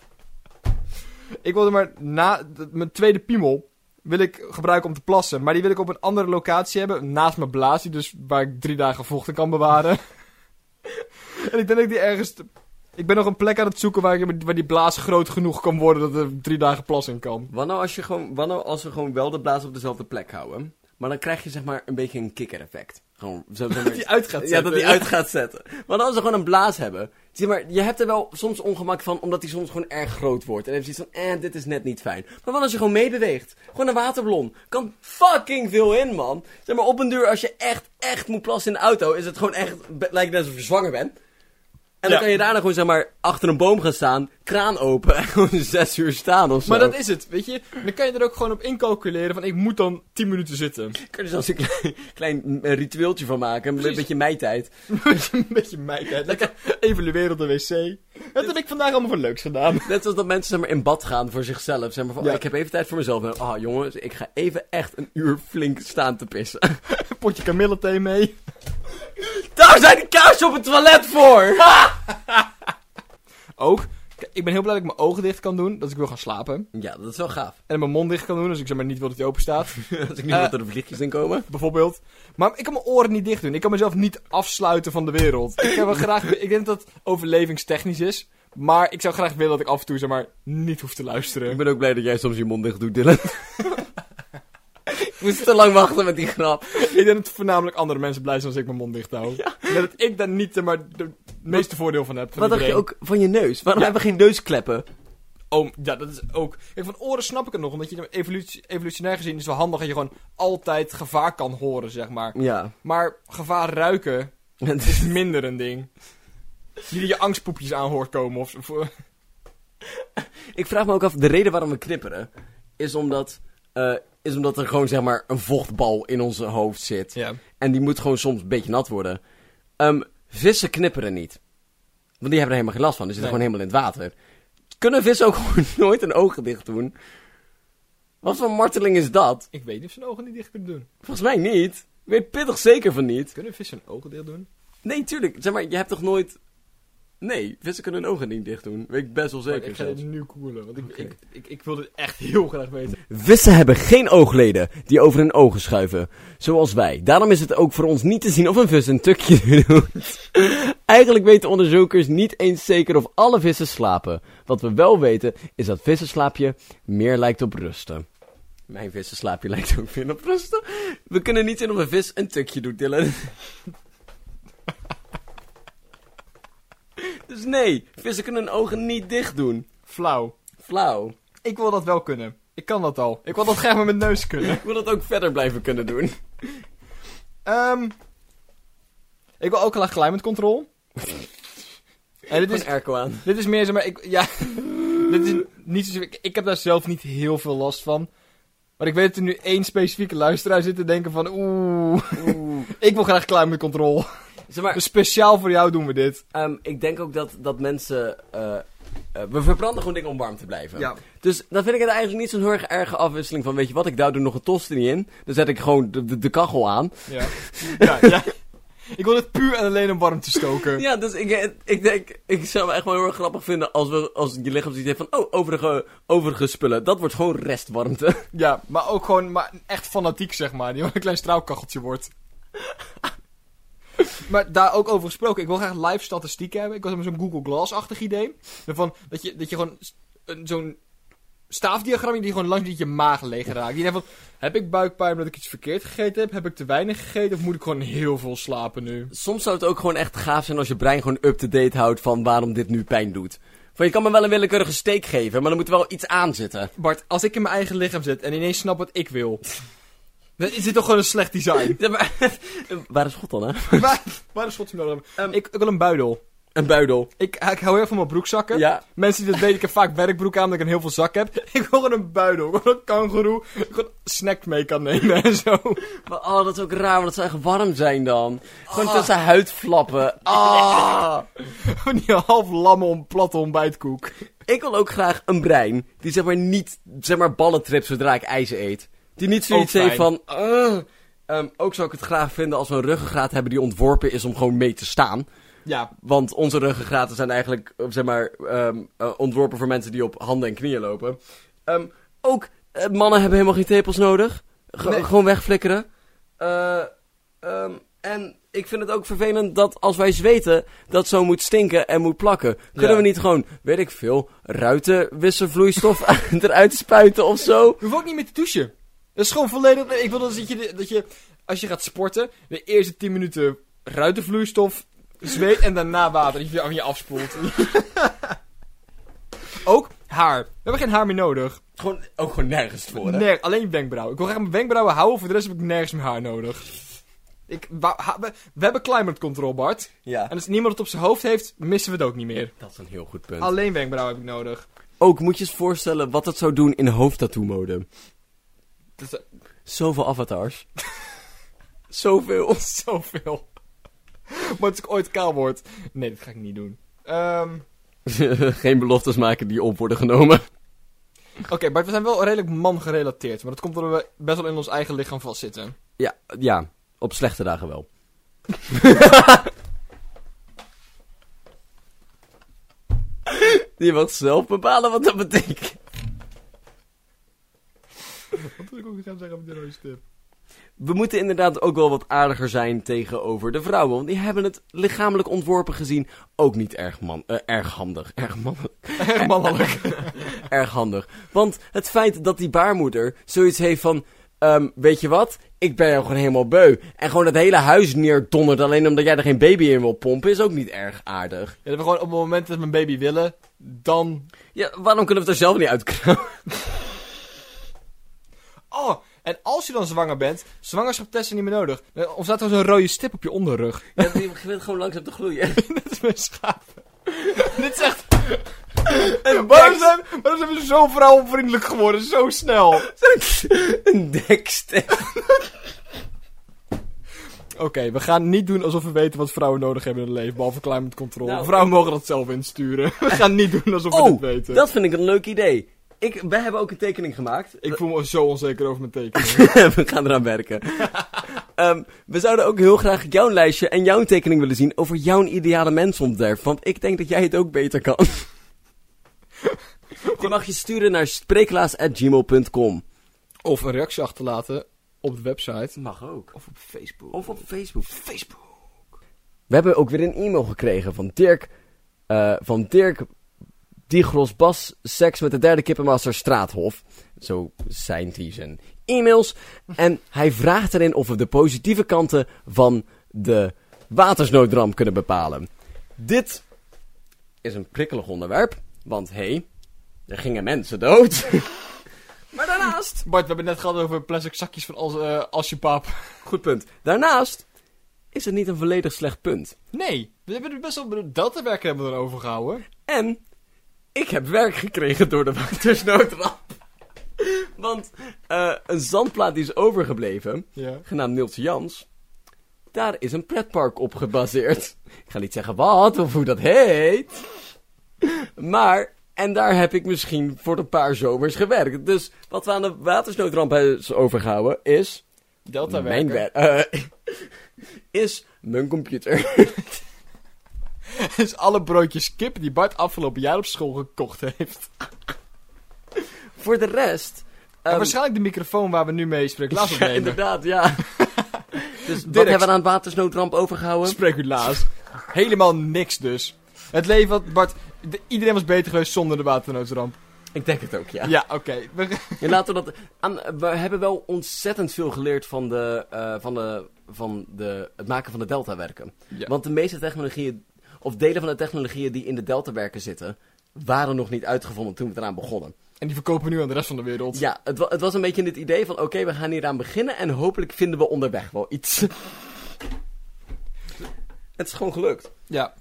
Speaker 2: Ik wilde maar na d- mijn tweede piemel wil ik gebruiken om te plassen. Maar die wil ik op een andere locatie hebben. Naast mijn blaas, die dus waar ik drie dagen vocht in kan bewaren. en ik denk dat ik die ergens... te- Ik ben nog een plek aan het zoeken waar, ik, waar die blaas groot genoeg kan worden dat er drie dagen plas in kan.
Speaker 1: Wat nou als, je gewoon, wat nou als we gewoon wel de blaas op dezelfde plek houden? Maar dan krijg je zeg maar een beetje een kikker-effect. Gewoon, zo, zeg maar-
Speaker 2: Dat die uit gaat
Speaker 1: Ja,
Speaker 2: zetten,
Speaker 1: dat die uit gaat zetten. Maar als ze gewoon een blaas hebben. Zie maar, je hebt er wel soms ongemak van, omdat die soms gewoon erg groot wordt. En dan heb je zoiets van, eh, dit is net niet fijn. Maar wat als je gewoon meebeweegt? Gewoon een waterballon. Kan fucking veel in, man. Zeg maar, op een duur, als je echt, echt moet plassen in de auto, is het gewoon echt, be- lijkt net alsof je zwanger bent. En dan
Speaker 2: Ja.
Speaker 1: kan je daarna gewoon, zeg maar, achter een boom gaan staan, kraan open en gewoon zes uur staan of zo.
Speaker 2: Maar dat is het, weet je. Dan kan je er ook gewoon op incalculeren van ik moet dan 10 minuten zitten.
Speaker 1: Kun je er zelfs een klein, klein eh, ritueeltje van maken, een
Speaker 2: Precies.
Speaker 1: beetje mijtijd.
Speaker 2: een beetje meikheid. Lekker evalueren op de wc. Dat heb ik vandaag allemaal voor leuks gedaan.
Speaker 1: Net zoals dat mensen zeg maar, in bad gaan voor zichzelf. Zeg maar van,
Speaker 2: Ja.
Speaker 1: oh, ik heb even tijd voor mezelf. En, Ah, jongens, ik ga even echt een uur flink staan te pissen.
Speaker 2: Een potje kamillenthee mee.
Speaker 1: Daar zijn de kaarsen op het toilet voor!
Speaker 2: Ook. k- Ik ben heel blij dat ik mijn ogen dicht kan doen, dat ik wil gaan slapen.
Speaker 1: Ja, dat is wel gaaf.
Speaker 2: En mijn mond dicht kan doen, als ik zeg maar niet wil dat hij open staat.
Speaker 1: Als ik nu
Speaker 2: Eh.
Speaker 1: wat er de vliegjes in komen.
Speaker 2: bijvoorbeeld. Maar ik kan mijn oren niet dicht doen. Ik kan mezelf niet afsluiten van de wereld. Ik, heb wel graag, ik denk dat dat overlevingstechnisch is. Maar ik zou graag willen dat ik af en toe zeg maar niet hoef te
Speaker 1: Ik
Speaker 2: luisteren.
Speaker 1: ben ook blij dat jij soms je mond dicht doet, Dylan. ik moest te lang wachten met die grap.
Speaker 2: Ik denk dat voornamelijk andere mensen blij zijn als ik mijn mond dicht hou. En Dat ik daar niet eh, maar de meeste voordeel van heb. van
Speaker 1: Wat dacht je
Speaker 2: iedereen.
Speaker 1: ook van je neus? Waarom hebben we geen neuskleppen?
Speaker 2: Oh, ja, dat is ook. Kijk, van oren snap ik het nog. Omdat je evolutie, evolutionair gezien is wel handig dat je gewoon altijd gevaar kan horen, zeg maar.
Speaker 1: Ja.
Speaker 2: Maar gevaar ruiken is minder een ding. Niet dat je angstpoepjes aan hoort komen of zo.
Speaker 1: Ik vraag me ook af, de reden waarom we knipperen is omdat, eh, is omdat er gewoon zeg maar een vochtbal in onze hoofd zit.
Speaker 2: Ja.
Speaker 1: En die moet gewoon soms een beetje nat worden. Ehm, vissen knipperen niet. Want die hebben er helemaal geen last van. Die zitten
Speaker 2: Nee.
Speaker 1: gewoon helemaal in het water. Kunnen vissen ook gewoon nooit hun ogen dicht doen? Wat voor marteling is dat?
Speaker 2: Ik weet niet of ze hun ogen niet dicht kunnen doen.
Speaker 1: Volgens mij niet. Ik weet pittig zeker van niet.
Speaker 2: Kunnen vissen hun ogen dicht doen?
Speaker 1: Nee, tuurlijk. Zeg maar, je hebt toch nooit... Nee, vissen kunnen hun ogen niet dicht doen. Weet ik best wel
Speaker 2: Maar
Speaker 1: zeker.
Speaker 2: ik ga
Speaker 1: zelfs.
Speaker 2: dit nu koelen, want ik, ik, ik, ik wil dit echt heel graag weten.
Speaker 1: Vissen hebben geen oogleden die over hun ogen schuiven, zoals wij. Daarom is het ook voor ons niet te zien of een vis een tukje doet. Eigenlijk weten onderzoekers niet eens zeker of alle vissen slapen. Wat we wel weten is dat vissenslaapje meer lijkt op rusten. Mijn vissenslaapje lijkt ook meer op rusten. We kunnen niet zien of een vis een tukje doet, Dylan. Dus nee, vissen kunnen hun ogen niet dicht doen.
Speaker 2: Flauw.
Speaker 1: Flauw.
Speaker 2: Ik wil dat wel kunnen. Ik kan dat al. Ik wil dat graag met mijn neus kunnen.
Speaker 1: Ik wil dat ook verder blijven kunnen doen.
Speaker 2: Ehm ik wil ook graag climate control. en dit
Speaker 1: Dit
Speaker 2: is,
Speaker 1: is airco aan.
Speaker 2: dit is meer zeg maar, ik, ja, dit is niet zo, ik, ik heb daar zelf niet heel veel last van. Maar ik weet dat er nu één specifieke luisteraar zit te denken van, oeh, ik wil graag climate control.
Speaker 1: Zeg maar,
Speaker 2: Dus speciaal voor jou doen we dit.
Speaker 1: ehm, ik denk ook dat, dat mensen... eh, eh, we verbranden gewoon dingen om warm te blijven.
Speaker 2: Ja.
Speaker 1: Dus dan vind ik het eigenlijk niet zo'n heel erg erge afwisseling van... Weet je wat, ik duw er nog een tost niet in. Dan zet ik gewoon de, de, de kachel aan.
Speaker 2: Ja, ja, ja. Ik wil dit puur en alleen om warm te stoken.
Speaker 1: Ja, dus ik, ik denk, ik zou het echt wel heel erg grappig vinden als, we, als je lichaam zoiets heeft van, oh, overige, overige spullen. Dat wordt gewoon restwarmte.
Speaker 2: Ja, maar ook gewoon maar echt fanatiek, zeg maar. Die gewoon een klein straalkacheltje wordt. maar daar ook over gesproken. Ik wil graag live statistieken hebben. Ik was met zo'n Google Glass-achtig idee. Van, dat, je, dat je gewoon s- een- zo'n staafdiagram die gewoon langs die je maag leeg raakt. Die denkt van, heb ik buikpijn omdat ik iets verkeerd gegeten heb? Heb ik te weinig gegeten? Of moet ik gewoon heel veel slapen nu?
Speaker 1: Soms zou het ook gewoon echt gaaf zijn als je brein gewoon up-to-date houdt van waarom dit nu pijn doet. Van, je kan me wel een willekeurige steek geven, maar er moet wel iets aan zitten.
Speaker 2: Bart, als ik in mijn eigen lichaam zit en ineens snap wat ik wil... dan is dit toch gewoon een slecht design?
Speaker 1: Ja, maar- Waar is God dan, hè?
Speaker 2: waar, waar is godsnaam nodig?
Speaker 1: Ehm,
Speaker 2: ik, ik wil een buidel.
Speaker 1: Een buidel.
Speaker 2: Ik, ik hou heel veel van mijn broekzakken.
Speaker 1: Ja.
Speaker 2: Mensen die dat weten, ik heb vaak werkbroek aan, omdat ik een heel veel zak heb. Ik wil gewoon een buidel, gewoon een kangoeroe, gewoon snack mee kan nemen en zo.
Speaker 1: Maar, oh, dat is ook raar, want het zou echt warm zijn dan. Gewoon
Speaker 2: Oh.
Speaker 1: tussen huidflappen. Ah.
Speaker 2: Gewoon die half lamme om platte ontbijtkoek.
Speaker 1: Ik wil ook graag een brein die zeg maar niet zeg maar ballen tript zodra ik ijs eet. Die niet zoiets
Speaker 2: Ook
Speaker 1: heeft
Speaker 2: fijn.
Speaker 1: van... "Ugh." Ehm, ook zou ik het graag vinden als we een ruggengraat hebben die ontworpen is om gewoon mee te staan.
Speaker 2: Ja,
Speaker 1: Want onze ruggengraten zijn eigenlijk eh, zeg maar, ehm, eh, ontworpen voor mensen die op handen en knieën lopen. Ehm, ook eh, mannen hebben helemaal geen tepels nodig. Ge-
Speaker 2: Nee.
Speaker 1: Gewoon wegflikkeren. Eh, ehm, en ik vind het ook vervelend dat als wij zweten, dat zo moet stinken en moet plakken. Kunnen
Speaker 2: Ja.
Speaker 1: we niet gewoon, weet ik veel, ruitenwisselvloeistof eruit spuiten of zo?
Speaker 2: je hoeft ook niet meer te douchen. Dat is gewoon volledig, ik wil dat je, dat je, als je gaat sporten, de eerste 10 minuten ruitenvloeistof, zweet en daarna water, dat je je aan je afspoelt. ook haar. We hebben geen haar meer nodig.
Speaker 1: Gewoon, ook gewoon nergens voor, hè?
Speaker 2: Nee, alleen wenkbrauwen. Ik wil graag mijn wenkbrauwen houden, voor de rest heb ik nergens meer haar nodig. Ik, wa- ha- we, we hebben climate control, Bart.
Speaker 1: Ja,
Speaker 2: En als niemand het op zijn hoofd heeft, missen we het ook niet meer.
Speaker 1: dat is een heel goed punt.
Speaker 2: Alleen wenkbrauwen heb ik nodig.
Speaker 1: Ook moet je eens voorstellen wat dat zou doen in hoofdtattoo-mode.
Speaker 2: Dat is
Speaker 1: Zoveel avatars. Zoveel.
Speaker 2: zoveel. maar als ik ooit kaal word... Nee, dat ga ik niet doen. Ehm,
Speaker 1: Geen beloftes maken die op worden genomen.
Speaker 2: Oké, Bart, we zijn wel redelijk man gerelateerd. Maar dat komt omdat we best wel in ons eigen lichaam vastzitten.
Speaker 1: Ja, ja op slechte dagen wel. Je mag zelf bepalen wat dat betekent.
Speaker 2: Wat wil ik ook gaan zeggen met die rode stip?
Speaker 1: We moeten inderdaad ook wel wat aardiger zijn tegenover de vrouwen. Want die hebben het lichamelijk ontworpen gezien ook niet erg, man, eh, erg handig. Erg mannelijk.
Speaker 2: Echt mannelijk.
Speaker 1: erg handig. Want het feit dat die baarmoeder zoiets heeft van... ehm, weet je wat? Ik ben jou gewoon helemaal beu. En gewoon het hele huis neerdondert alleen omdat jij er geen baby in wil pompen... is ook niet erg aardig.
Speaker 2: Ja, dat we gewoon op het moment dat we een baby willen, dan
Speaker 1: Ja, waarom kunnen we het er zelf niet uitkrijgen?
Speaker 2: Oh, en als je dan zwanger bent, zwangerschapstesten niet meer nodig. Er ontstaat er zo'n rode stip op je onderrug.
Speaker 1: Ja, die begint gewoon langzaam te gloeien.
Speaker 2: Dat is mijn schapen. Dit is echt...
Speaker 1: Een
Speaker 2: Waarom zijn, waarom zijn we zo vrouwenvriendelijk geworden, zo snel? Oké,
Speaker 1: Een dekst.
Speaker 2: we gaan niet doen alsof we weten wat vrouwen nodig hebben in het leven, behalve climate control.
Speaker 1: Nou,
Speaker 2: vrouwen mogen dat zelf insturen. We gaan niet doen alsof we dit
Speaker 1: Oh,
Speaker 2: weten.
Speaker 1: dat vind ik een leuk idee. Ik, wij hebben ook een tekening gemaakt.
Speaker 2: Ik voel me zo onzeker over mijn tekening.
Speaker 1: we gaan eraan werken. Ehm, we zouden ook heel graag jouw lijstje en jouw tekening willen zien over jouw ideale mensontwerp. Want ik denk dat jij het ook beter kan. Die mag je sturen naar spreeklaas.gmail.com.
Speaker 2: Of een reactie achterlaten op de website.
Speaker 1: Mag ook.
Speaker 2: Of op Facebook.
Speaker 1: Of op Facebook. Facebook. We hebben ook weer een e-mail gekregen van Dirk. eh, van Dirk Diegros Bas, seks met de derde kippenmaster Straathof. Zo zijn die zijn e-mails. En hij vraagt erin of we de positieve kanten van de watersnoodramp kunnen bepalen. Dit is een prikkelig onderwerp, want hé, hey, er gingen mensen dood. maar daarnaast
Speaker 2: Bart, we hebben het net gehad over plastic zakjes van als, eh, als je pap.
Speaker 1: Goed punt. Daarnaast is het niet een volledig slecht punt.
Speaker 2: Nee, we hebben er best wel deltawerken hebben we erover gehouden.
Speaker 1: En ik heb werk gekregen door de watersnoodramp. Want eh, een zandplaat die is overgebleven,
Speaker 2: Ja.
Speaker 1: genaamd Niels Jans, daar is een pretpark op gebaseerd. Ik ga niet zeggen wat of hoe dat heet. Maar, en daar heb ik misschien voor een paar zomers gewerkt. Dus wat we aan de watersnoodramp hebben overgehouden is...
Speaker 2: Delta
Speaker 1: Mijn
Speaker 2: werken.
Speaker 1: wer- eh, is Mijn computer.
Speaker 2: Dus alle broodjes kip die Bart afgelopen jaar op school gekocht heeft.
Speaker 1: Ehm, Voor de rest...
Speaker 2: En
Speaker 1: ehm,
Speaker 2: waarschijnlijk de microfoon waar we nu mee spreken. Laat
Speaker 1: ja,
Speaker 2: opnemen.
Speaker 1: inderdaad, ja. dus wat
Speaker 2: Dirk.
Speaker 1: hebben we aan watersnoodramp overgehouden?
Speaker 2: Spreek u laatst. Helemaal niks dus. Het leven had Bart... de- iedereen was beter geweest zonder de waternoodramp.
Speaker 1: Ik denk het ook, ja.
Speaker 2: Ja, oké. We-
Speaker 1: Ja, laten we dat. Aan, we hebben wel ontzettend veel geleerd van, de, eh, van, de, van de, het maken van de deltawerken.
Speaker 2: Ja.
Speaker 1: Want de meeste technologieën, of delen van de technologieën die in de deltawerken zitten, waren nog niet uitgevonden toen we eraan begonnen.
Speaker 2: En die verkopen we nu aan de rest van de wereld.
Speaker 1: Ja, het, wa- het was een beetje het idee van: oké, we gaan hieraan beginnen en hopelijk vinden we onderweg wel iets. het is gewoon gelukt.
Speaker 2: Ja.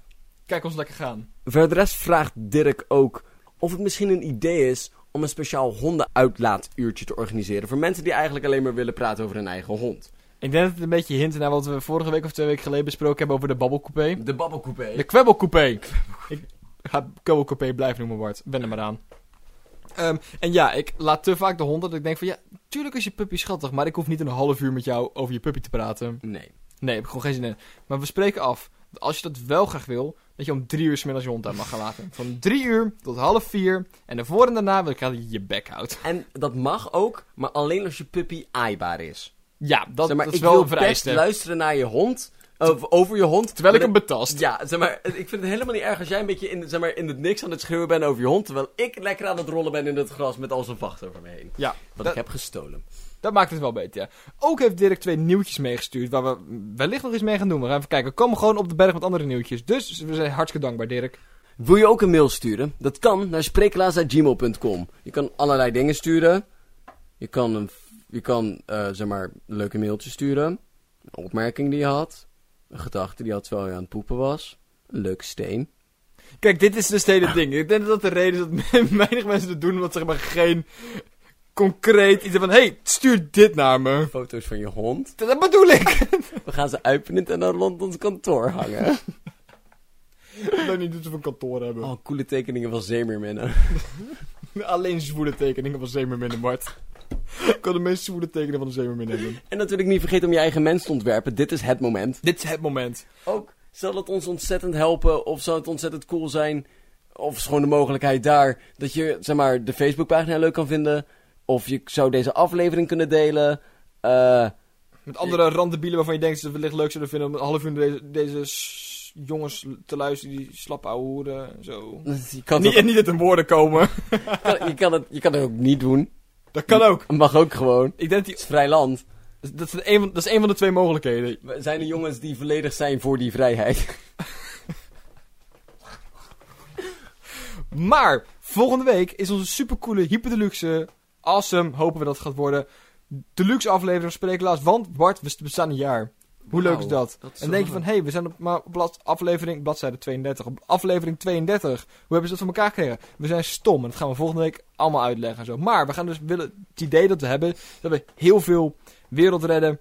Speaker 2: Kijk ons lekker gaan.
Speaker 1: Voor de rest vraagt Dirk ook of het misschien een idee is om een speciaal hondenuitlaatuurtje te organiseren voor mensen die eigenlijk alleen maar willen praten over hun eigen hond.
Speaker 2: Ik denk dat het een beetje hint naar wat we vorige week of twee weken geleden besproken hebben over de babbelcoupé.
Speaker 1: De babbelcoupé.
Speaker 2: De kwebbelcoupé. Ik ga kwebbelcoupé blijven noemen, Bart. Wen er maar aan. Ehm, en ja, ik laat te vaak de hond dat ik denk van... Ja, tuurlijk is je puppy schattig, maar ik hoef niet een half uur met jou over je puppy te praten.
Speaker 1: Nee.
Speaker 2: Nee, heb ik gewoon geen zin in. Maar we spreken af. dat Als je dat wel graag wil, dat je om drie uur 's middags je hond uit mag gaan laten. Van drie uur tot half vier. En daarvoor en daarna wil ik graag dat je je bek houdt.
Speaker 1: En dat mag ook, maar alleen als je puppy aaibaar is.
Speaker 2: Ja, dat,
Speaker 1: zeg maar,
Speaker 2: dat is
Speaker 1: ik
Speaker 2: wel
Speaker 1: wil
Speaker 2: een vereiste.
Speaker 1: best luisteren naar je hond, of over je hond.
Speaker 2: Terwijl ik hem
Speaker 1: maar
Speaker 2: betast.
Speaker 1: dat- Ja, zeg maar, ik vind het helemaal niet erg als jij een beetje in, zeg maar, in het niks aan het schreeuwen bent over je hond, terwijl ik lekker aan het rollen ben in het gras met al zijn vacht over me heen.
Speaker 2: Ja,
Speaker 1: Wat
Speaker 2: dat,
Speaker 1: ik heb gestolen.
Speaker 2: dat maakt het wel beter. ja. Ook heeft Dirk twee nieuwtjes meegestuurd waar we wellicht nog iets mee gaan doen. We gaan even kijken. We komen gewoon op de berg met andere nieuwtjes. Dus we zijn hartstikke dankbaar, Dirk.
Speaker 1: Wil je ook een mail sturen? Dat kan naar spreeklaas.gmail.com. Je kan allerlei dingen sturen. Je kan, een, je kan eh, zeg maar, een leuke mailtje sturen. Een opmerking die je had. Een gedachte die je had terwijl je aan het poepen was. Een leuke steen.
Speaker 2: Kijk, dit is dus het hele ding. Ik denk dat dat de reden is dat weinig mensen het doen, omdat ze zeg maar geen concreet iets hebben van... Hé, hey, stuur dit naar me.
Speaker 1: Foto's van je hond.
Speaker 2: Dat bedoel ik.
Speaker 1: We gaan ze uitprinten en dan rond ons kantoor hangen.
Speaker 2: Dat niet dat ze van kantoor hebben.
Speaker 1: Oh, coole tekeningen van zeemeerminnen.
Speaker 2: Alleen zwoele tekeningen van zeemerminnen, Bart. Ik kan de meest zwoele tekenen van de zeemerminnen hebben.
Speaker 1: En natuurlijk niet vergeten om je eigen mens te ontwerpen. Dit is het moment.
Speaker 2: Dit is het moment.
Speaker 1: Ook zal het ons ontzettend helpen, of zou het ontzettend cool zijn, of is gewoon de mogelijkheid daar dat je zeg maar, de Facebookpagina leuk kan vinden, of je zou deze aflevering kunnen delen. Eh,
Speaker 2: Met andere randebielen waarvan je denkt dat ze het wellicht leuk zouden vinden om een half uur deze, deze s- jongens te luisteren die slap ouwe hoeren en zo.
Speaker 1: je, kan
Speaker 2: Niet,
Speaker 1: het,
Speaker 2: en niet uit hun woorden komen.
Speaker 1: kan- je, kan het, je kan het ook niet doen.
Speaker 2: Dat kan ook.
Speaker 1: Het mag ook gewoon.
Speaker 2: Ik
Speaker 1: Het
Speaker 2: denk dat,
Speaker 1: is vrij land.
Speaker 2: die, dat, is een van, dat is een van de twee mogelijkheden.
Speaker 1: We zijn er jongens die volledig zijn voor die vrijheid.
Speaker 2: Maar volgende week is onze supercoole, hyperdeluxe, awesome, hopen we dat het gaat worden, deluxe aflevering van Spreeklaas. Want Bart, we bestaan een jaar. Hoe leuk is
Speaker 1: Wauw,
Speaker 2: dat?
Speaker 1: dat is
Speaker 2: en denk je
Speaker 1: wel
Speaker 2: van, hé, hey, we zijn op maar op blad, aflevering, bladzijde 32, op aflevering 32. Hoe hebben ze dat voor elkaar gekregen? We zijn stom en dat gaan we volgende week allemaal uitleggen en zo. Maar we gaan dus willen, het idee dat we hebben, dat we heel veel wereld redden,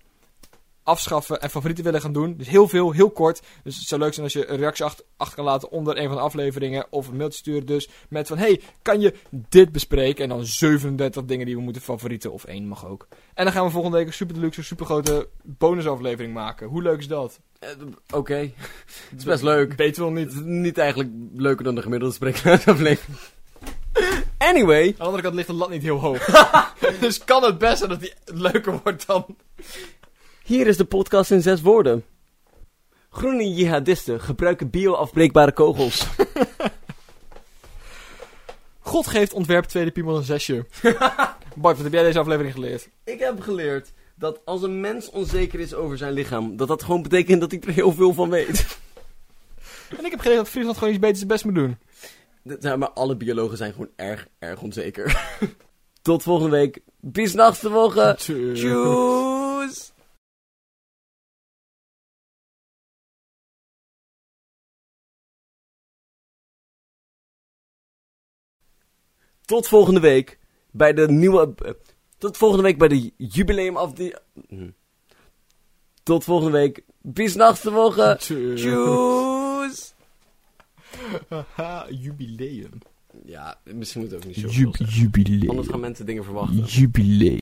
Speaker 2: afschaffen en favorieten willen gaan doen. Dus heel veel, heel kort. Dus het zou leuk zijn als je een reactie achter, achter kan laten onder een van de afleveringen. Of een mailtje sturen dus met van, hey, kan je dit bespreken? En dan 37 dingen die we moeten favorieten. Of één mag ook. En dan gaan we volgende week een super deluxe, een super grote bonusaflevering maken. Hoe leuk is dat?
Speaker 1: Eh, Oké, het is best leuk.
Speaker 2: Beter nog niet.
Speaker 1: Het is niet eigenlijk leuker dan de gemiddelde spreekluisteraflevering. Anyway,
Speaker 2: Aan de andere kant ligt de lat niet heel hoog. dus kan het best zijn dat die leuker wordt dan...
Speaker 1: Hier is de podcast in zes woorden. Groene jihadisten gebruiken bioafbreekbare kogels.
Speaker 2: God geeft ontwerp tweede piemel een zesje. Bart, wat heb jij deze aflevering geleerd?
Speaker 1: Ik heb geleerd dat als een mens onzeker is over zijn lichaam, dat dat gewoon betekent dat hij er heel veel van weet.
Speaker 2: En ik heb geleerd dat Friesland gewoon iets beters zijn best moet doen.
Speaker 1: Dat zijn maar alle biologen zijn gewoon erg, erg onzeker. Tot volgende week. Bis nachts te
Speaker 2: Eh,
Speaker 1: volgen. Tjoes. Tot volgende week bij de nieuwe. eh, Tot volgende week bij de jubileumafdeling. hm. Tot volgende week. Bis nachts te volgen.
Speaker 2: eh,
Speaker 1: Tjoes.
Speaker 2: Haha, jubileum.
Speaker 1: Ja, misschien moet het ook niet zo. veel zijn.
Speaker 2: Jubileum.
Speaker 1: Anders gaan mensen dingen verwachten.
Speaker 2: Jubileum.